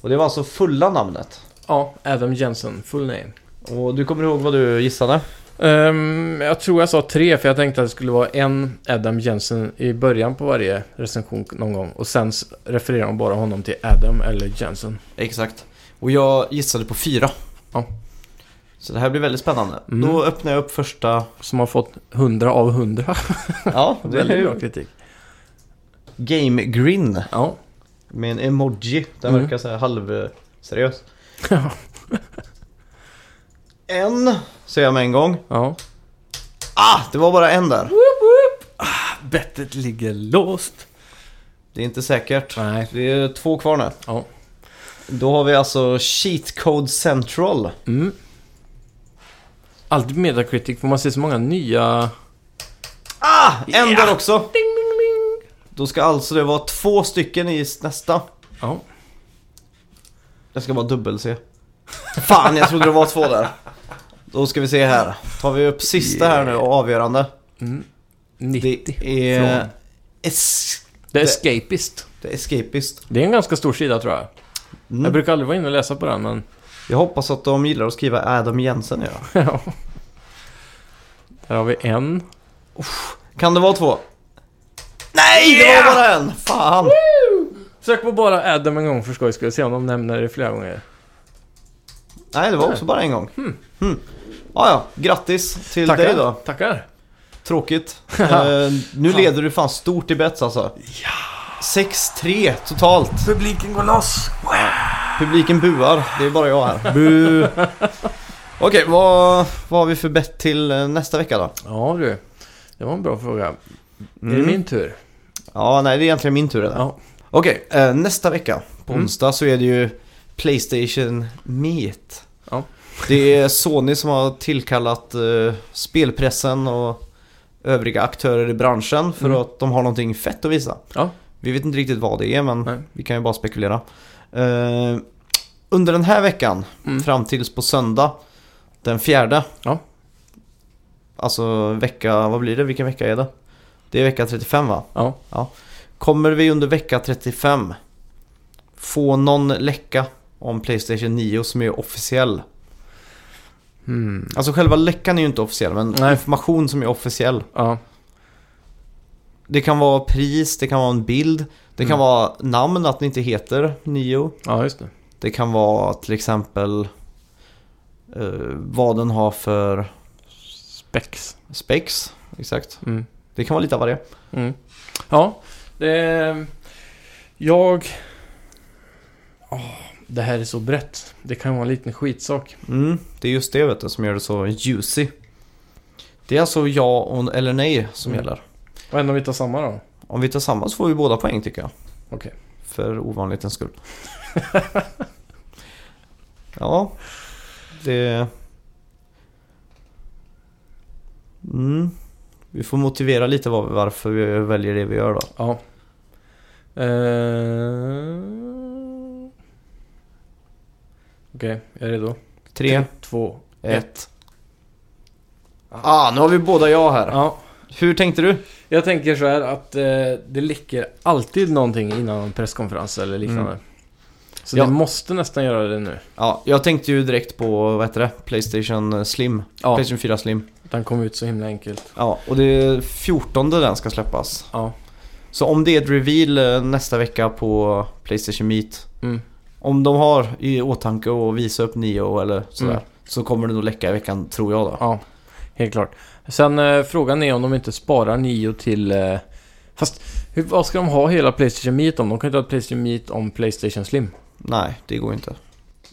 [SPEAKER 1] Och det var alltså fulla namnet.
[SPEAKER 2] Ja, Adam Jensen, full name.
[SPEAKER 1] Och du kommer ihåg vad du gissade?
[SPEAKER 2] Ehm, jag tror jag sa tre, för jag tänkte att det skulle vara en Adam Jensen i början på varje recension någon gång. Och sen s- refererar de bara honom till Adam eller Jensen.
[SPEAKER 1] Exakt. Och jag gissade på fyra.
[SPEAKER 2] Ja.
[SPEAKER 1] Så det här blir väldigt spännande.
[SPEAKER 2] Mm.
[SPEAKER 1] Då öppnar jag upp första...
[SPEAKER 2] Som har fått 100 av 100.
[SPEAKER 1] Ja, det är
[SPEAKER 2] Väldigt bra
[SPEAKER 1] ju
[SPEAKER 2] kritik.
[SPEAKER 1] Game Grin
[SPEAKER 2] Ja.
[SPEAKER 1] med en emoji. Den
[SPEAKER 2] Mm.
[SPEAKER 1] verkar så här halvseriös.
[SPEAKER 2] Ja.
[SPEAKER 1] en, säger jag med en gång.
[SPEAKER 2] ja.
[SPEAKER 1] Ah, det var bara en där.
[SPEAKER 2] Ah, Bettet ligger låst.
[SPEAKER 1] Det är inte säkert.
[SPEAKER 2] Nej.
[SPEAKER 1] Det är två kvar nu.
[SPEAKER 2] Ja.
[SPEAKER 1] Då har vi alltså Cheat Code Central.
[SPEAKER 2] Mm. Alltid på Metacritic får man se så många nya...
[SPEAKER 1] Ah, en
[SPEAKER 2] Ja.
[SPEAKER 1] där också. Då ska alltså det vara två stycken i nästa.
[SPEAKER 2] Ja.
[SPEAKER 1] Jag ska bara dubbel-se. Fan, jag trodde det var två där. Då ska vi se här. Tar vi upp sista här nu och avgörande.
[SPEAKER 2] Mm. 90.
[SPEAKER 1] Det
[SPEAKER 2] Från.
[SPEAKER 1] är... Es-
[SPEAKER 2] Det är Escapist.
[SPEAKER 1] det är Escapist.
[SPEAKER 2] Det är en ganska stor sida tror jag.
[SPEAKER 1] Mm.
[SPEAKER 2] Jag brukar aldrig vara inne och läsa på den, men...
[SPEAKER 1] Jag hoppas att de gillar att skriva Adam Jensen ja.
[SPEAKER 2] ja. Där har vi en.
[SPEAKER 1] Kan det vara två? Nej, det var bara en! Fan!
[SPEAKER 2] Sök på bara Adam en gång för skojs skull, se om de nämner det flera gånger.
[SPEAKER 1] Nej, det var också bara en gång. Hmm. Ja, ja. Grattis till dig då.
[SPEAKER 2] Tackar.
[SPEAKER 1] Tråkigt. Eh, nu leder du fan stort i bets alltså. 6-3 totalt.
[SPEAKER 2] Publiken går loss.
[SPEAKER 1] Publiken buar, det är bara jag här. Bu. Okej, vad, vad har vi för bett till eh, nästa vecka då?
[SPEAKER 2] Ja du, det var en bra fråga. Är det min tur?
[SPEAKER 1] Ja, nej det är egentligen min tur redan.
[SPEAKER 2] Mm. Ja.
[SPEAKER 1] Okej, eh, nästa vecka på
[SPEAKER 2] Mm.
[SPEAKER 1] onsdag så är det ju Playstation Meet.
[SPEAKER 2] Ja.
[SPEAKER 1] Det är Sony som har tillkallat eh, spelpressen och övriga aktörer i branschen för
[SPEAKER 2] Mm.
[SPEAKER 1] att de har någonting fett att visa.
[SPEAKER 2] Ja.
[SPEAKER 1] Vi vet inte riktigt vad det är men
[SPEAKER 2] Nej.
[SPEAKER 1] vi kan ju bara spekulera. Eh, under den här veckan
[SPEAKER 2] Mm.
[SPEAKER 1] fram tills på söndag den fjärde.
[SPEAKER 2] Ja.
[SPEAKER 1] Alltså vecka, vad blir det? Vilken vecka är det? Det är vecka 35 va?
[SPEAKER 2] Ja.
[SPEAKER 1] Kommer vi under vecka 35 få någon läcka om Playstation 9 som är officiell?
[SPEAKER 2] Hmm.
[SPEAKER 1] Alltså själva läckan är ju inte officiell men
[SPEAKER 2] Nej.
[SPEAKER 1] information som är officiell.
[SPEAKER 2] ja.
[SPEAKER 1] Det kan vara pris, det kan vara en bild, det kan
[SPEAKER 2] Mm.
[SPEAKER 1] vara namn att ni inte heter 9.
[SPEAKER 2] Ja, just det.
[SPEAKER 1] Det kan vara till exempel eh, vad den har för
[SPEAKER 2] Spex.
[SPEAKER 1] specs. Exakt.
[SPEAKER 2] Mm.
[SPEAKER 1] Det kan vara lite av varje.
[SPEAKER 2] Mm. Ja, det... Jag... Åh, det här är så brett. Det kan vara en liten skitsak.
[SPEAKER 1] Mm, det är just det vet du, som gör det så juicy. Det är alltså ja och, eller nej som
[SPEAKER 2] Mm.
[SPEAKER 1] gäller.
[SPEAKER 2] Och ändå om vi tar samma då?
[SPEAKER 1] Om vi tar samma så får vi båda poäng tycker jag.
[SPEAKER 2] Okej.
[SPEAKER 1] För ovanlighetens skull. ja, det... Mm. Vi får motivera lite var- varför vi väljer det vi gör då.
[SPEAKER 2] Ja. Eh... Okej, jag är redo.
[SPEAKER 1] Tre,
[SPEAKER 2] två, ett.
[SPEAKER 1] ett. Ah, nu har vi båda ja här.
[SPEAKER 2] Ja.
[SPEAKER 1] Hur tänkte du?
[SPEAKER 2] Jag tänker så här att eh, det läcker alltid någonting innan en presskonferens eller liknande. Så
[SPEAKER 1] Ja.
[SPEAKER 2] det måste nästan göra det nu.
[SPEAKER 1] Ja, jag tänkte ju direkt på, vad heter det? Playstation eh, Slim.
[SPEAKER 2] Ja.
[SPEAKER 1] Playstation 4 Slim.
[SPEAKER 2] Den kom ut så himla enkelt.
[SPEAKER 1] Ja, och det är 14 den ska släppas.
[SPEAKER 2] Ja.
[SPEAKER 1] Så om det är ett reveal eh, nästa vecka på Playstation Meet.
[SPEAKER 2] Mm.
[SPEAKER 1] Om de har i åtanke att visa upp Nio eller sådär.
[SPEAKER 2] Mm.
[SPEAKER 1] Så kommer det nog läcka i veckan, tror jag då.
[SPEAKER 2] Ja, helt klart. Sen eh, frågan är om de inte sparar Nio till... Eh, fast hur, vad ska de ha hela Playstation Meet om? De kan inte ha Playstation Meet om Playstation Slim.
[SPEAKER 1] Nej, det går inte.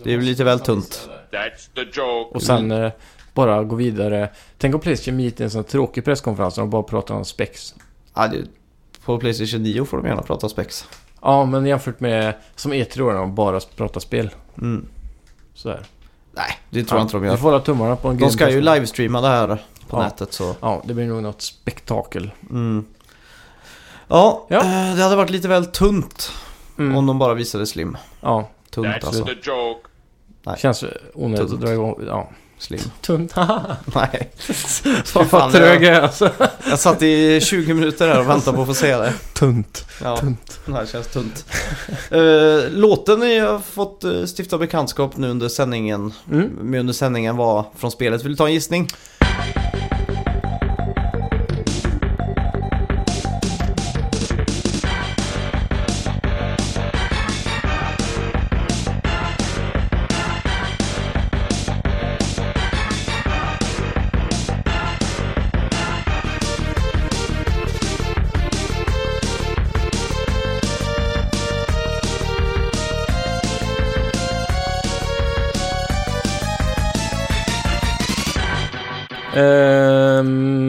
[SPEAKER 1] Det är väl lite väl tunt.
[SPEAKER 3] That's the joke.
[SPEAKER 2] Och sen eh, bara gå vidare. Tänk om Playstation Meet är en sån här tråkig presskonferens där de bara pratar om spex.
[SPEAKER 1] Ja, det, på Playstation 9 får de gärna prata spex.
[SPEAKER 2] Ja, men jämfört med som E3 då, när de bara pratar spel.
[SPEAKER 1] Mm.
[SPEAKER 2] Sådär.
[SPEAKER 1] Nej, det tror jag inte de
[SPEAKER 2] Vi
[SPEAKER 1] gör.
[SPEAKER 2] får hålla tummarna på en
[SPEAKER 1] De
[SPEAKER 2] grym
[SPEAKER 1] ska ju
[SPEAKER 2] presskonferens.
[SPEAKER 1] livestreama det här på
[SPEAKER 2] Ja.
[SPEAKER 1] nätet så...
[SPEAKER 2] Ja, det blir nog något spektakel.
[SPEAKER 1] Mm. Ja,
[SPEAKER 2] Ja.
[SPEAKER 1] eh, det hade varit lite väl tunt
[SPEAKER 2] Mm.
[SPEAKER 1] om de bara visade Slim.
[SPEAKER 2] Ja,
[SPEAKER 1] Tunt
[SPEAKER 3] That's
[SPEAKER 1] alltså.
[SPEAKER 3] the joke.
[SPEAKER 1] Nej.
[SPEAKER 2] känns onödigt
[SPEAKER 1] Tunt.
[SPEAKER 2] att dra igång. Ja.
[SPEAKER 1] Slim.
[SPEAKER 2] Tunt, haha.
[SPEAKER 1] Nej.
[SPEAKER 2] Fy
[SPEAKER 1] fan,
[SPEAKER 2] fan
[SPEAKER 1] jag-
[SPEAKER 2] trög jag är alltså.
[SPEAKER 1] Jag satt i 20 minuter här och väntade på att få se det.
[SPEAKER 2] Tunt.
[SPEAKER 1] Ja,
[SPEAKER 2] Tunt.
[SPEAKER 1] det här känns tunt. Eh, låten jag har fått eh, stifta bekantskap nu under sändningen,
[SPEAKER 2] Mm.
[SPEAKER 1] med under sändningen var från spelet. Vill du ta en gissning?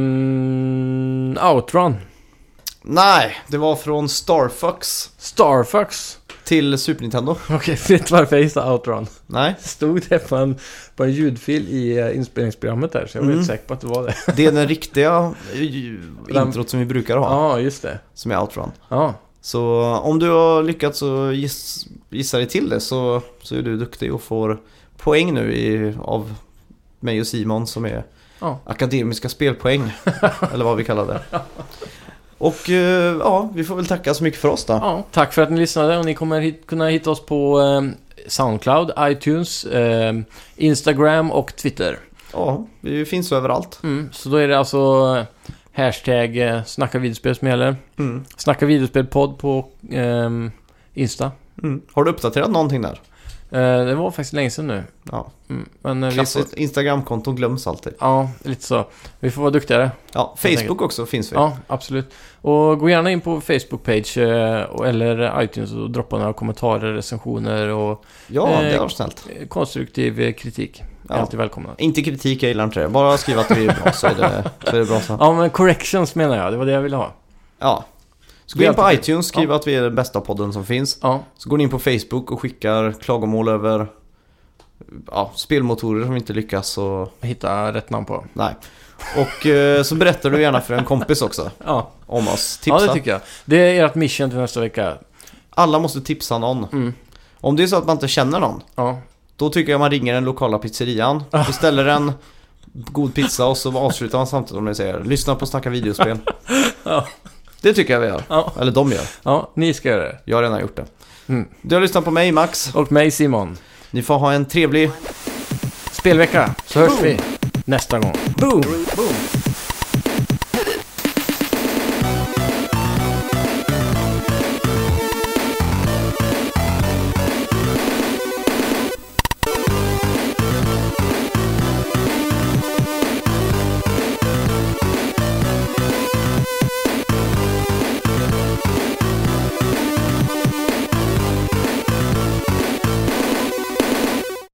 [SPEAKER 2] Ehm, Outrun.
[SPEAKER 1] Nej, det var från Starfox
[SPEAKER 2] Starfox.
[SPEAKER 1] till Super Nintendo.
[SPEAKER 2] Okej, vet varför jag gissade Outrun?
[SPEAKER 1] Nej,
[SPEAKER 2] Stod det på en, på en ljudfil i eh, inspelningsprogrammet där, så jag var
[SPEAKER 1] Mm.
[SPEAKER 2] inte säker på att det var det.
[SPEAKER 1] det är den riktiga eh, introt som vi brukar
[SPEAKER 2] Ja,
[SPEAKER 1] ha,
[SPEAKER 2] just det.
[SPEAKER 1] som är Outrun.
[SPEAKER 2] Ja,
[SPEAKER 1] Så om du har lyckats så giss, gissa dig till det så, så är du duktig och får poäng nu i, av mig och Simon som är
[SPEAKER 2] Ja.
[SPEAKER 1] akademiska spelpoäng. eller vad vi kallar det. Och eh, ja, vi får väl tacka så mycket för oss då.
[SPEAKER 2] ja. Tack för att ni lyssnade och ni kommer hit, kunna hitta oss på ehm, Soundcloud, iTunes, ehm, Instagram och Twitter.
[SPEAKER 1] Ja, vi finns överallt.
[SPEAKER 2] Mm, så då är det alltså eh, hashtag eh, snacka videospel som gäller.
[SPEAKER 1] Mm.
[SPEAKER 2] Snacka videospelpodd på ehm, Insta.
[SPEAKER 1] Mm. Har du uppdaterat någonting där?
[SPEAKER 2] Eh, det var faktiskt länge sedan nu.
[SPEAKER 1] Ja,
[SPEAKER 2] Mm, men eh, vi får,
[SPEAKER 1] klassiskt. Instagramkonton glöms alltid.
[SPEAKER 2] ja, lite så. Vi får vara duktigare.
[SPEAKER 1] Ja, Facebook också finns vi.
[SPEAKER 2] Ja, absolut. Och gå gärna in på Facebook-page eh, och- eller iTunes och droppa några kommentarer, recensioner och
[SPEAKER 1] Ja, det
[SPEAKER 2] Eh,
[SPEAKER 1] var snällt.
[SPEAKER 2] eh, konstruktiv eh, kritik.
[SPEAKER 1] Ja.
[SPEAKER 2] Är alltid välkomna.
[SPEAKER 1] Inte kritik, jag gillar inte det. Bara skriv att vi är bra så är det, så är det bra så.
[SPEAKER 2] Ja, men corrections menar jag. Det var det jag ville ha.
[SPEAKER 1] Ja. Så gå
[SPEAKER 2] Det är
[SPEAKER 1] in på
[SPEAKER 2] alltid kul.
[SPEAKER 1] iTunes, skriv att vi är den bästa podden som finns.
[SPEAKER 2] Ja,
[SPEAKER 1] Så går ni in på Facebook och skickar klagomål över ja, spelmotorer som inte lyckas och...
[SPEAKER 2] hitta rätt namn på.
[SPEAKER 1] Nej. Och eh, så berättar du gärna för en kompis också
[SPEAKER 2] Ja,
[SPEAKER 1] om oss. Tipsa.
[SPEAKER 2] ja det tycker jag. Det är ert mission till nästa vecka.
[SPEAKER 1] Alla måste tipsa någon.
[SPEAKER 2] Mm.
[SPEAKER 1] Om det är så att man inte känner någon,
[SPEAKER 2] Ja,
[SPEAKER 1] då tycker jag man ringer den lokala pizzerian, beställer en god pizza och så avslutar man samtidigt om ni säger “Lyssna på Snacka videospel”.
[SPEAKER 2] Ja.
[SPEAKER 1] Det tycker jag vi gör.
[SPEAKER 2] Ja.
[SPEAKER 1] Eller de gör.
[SPEAKER 2] ja ni ska göra det.
[SPEAKER 1] Jag har redan gjort det.
[SPEAKER 2] Mm.
[SPEAKER 1] Du har lyssnat på mig, Max.
[SPEAKER 2] Och mig Simon.
[SPEAKER 1] Ni får ha en trevlig
[SPEAKER 2] Spelvecka, så hörs
[SPEAKER 1] Boom.
[SPEAKER 2] vi nästa gång.
[SPEAKER 1] boom! boom.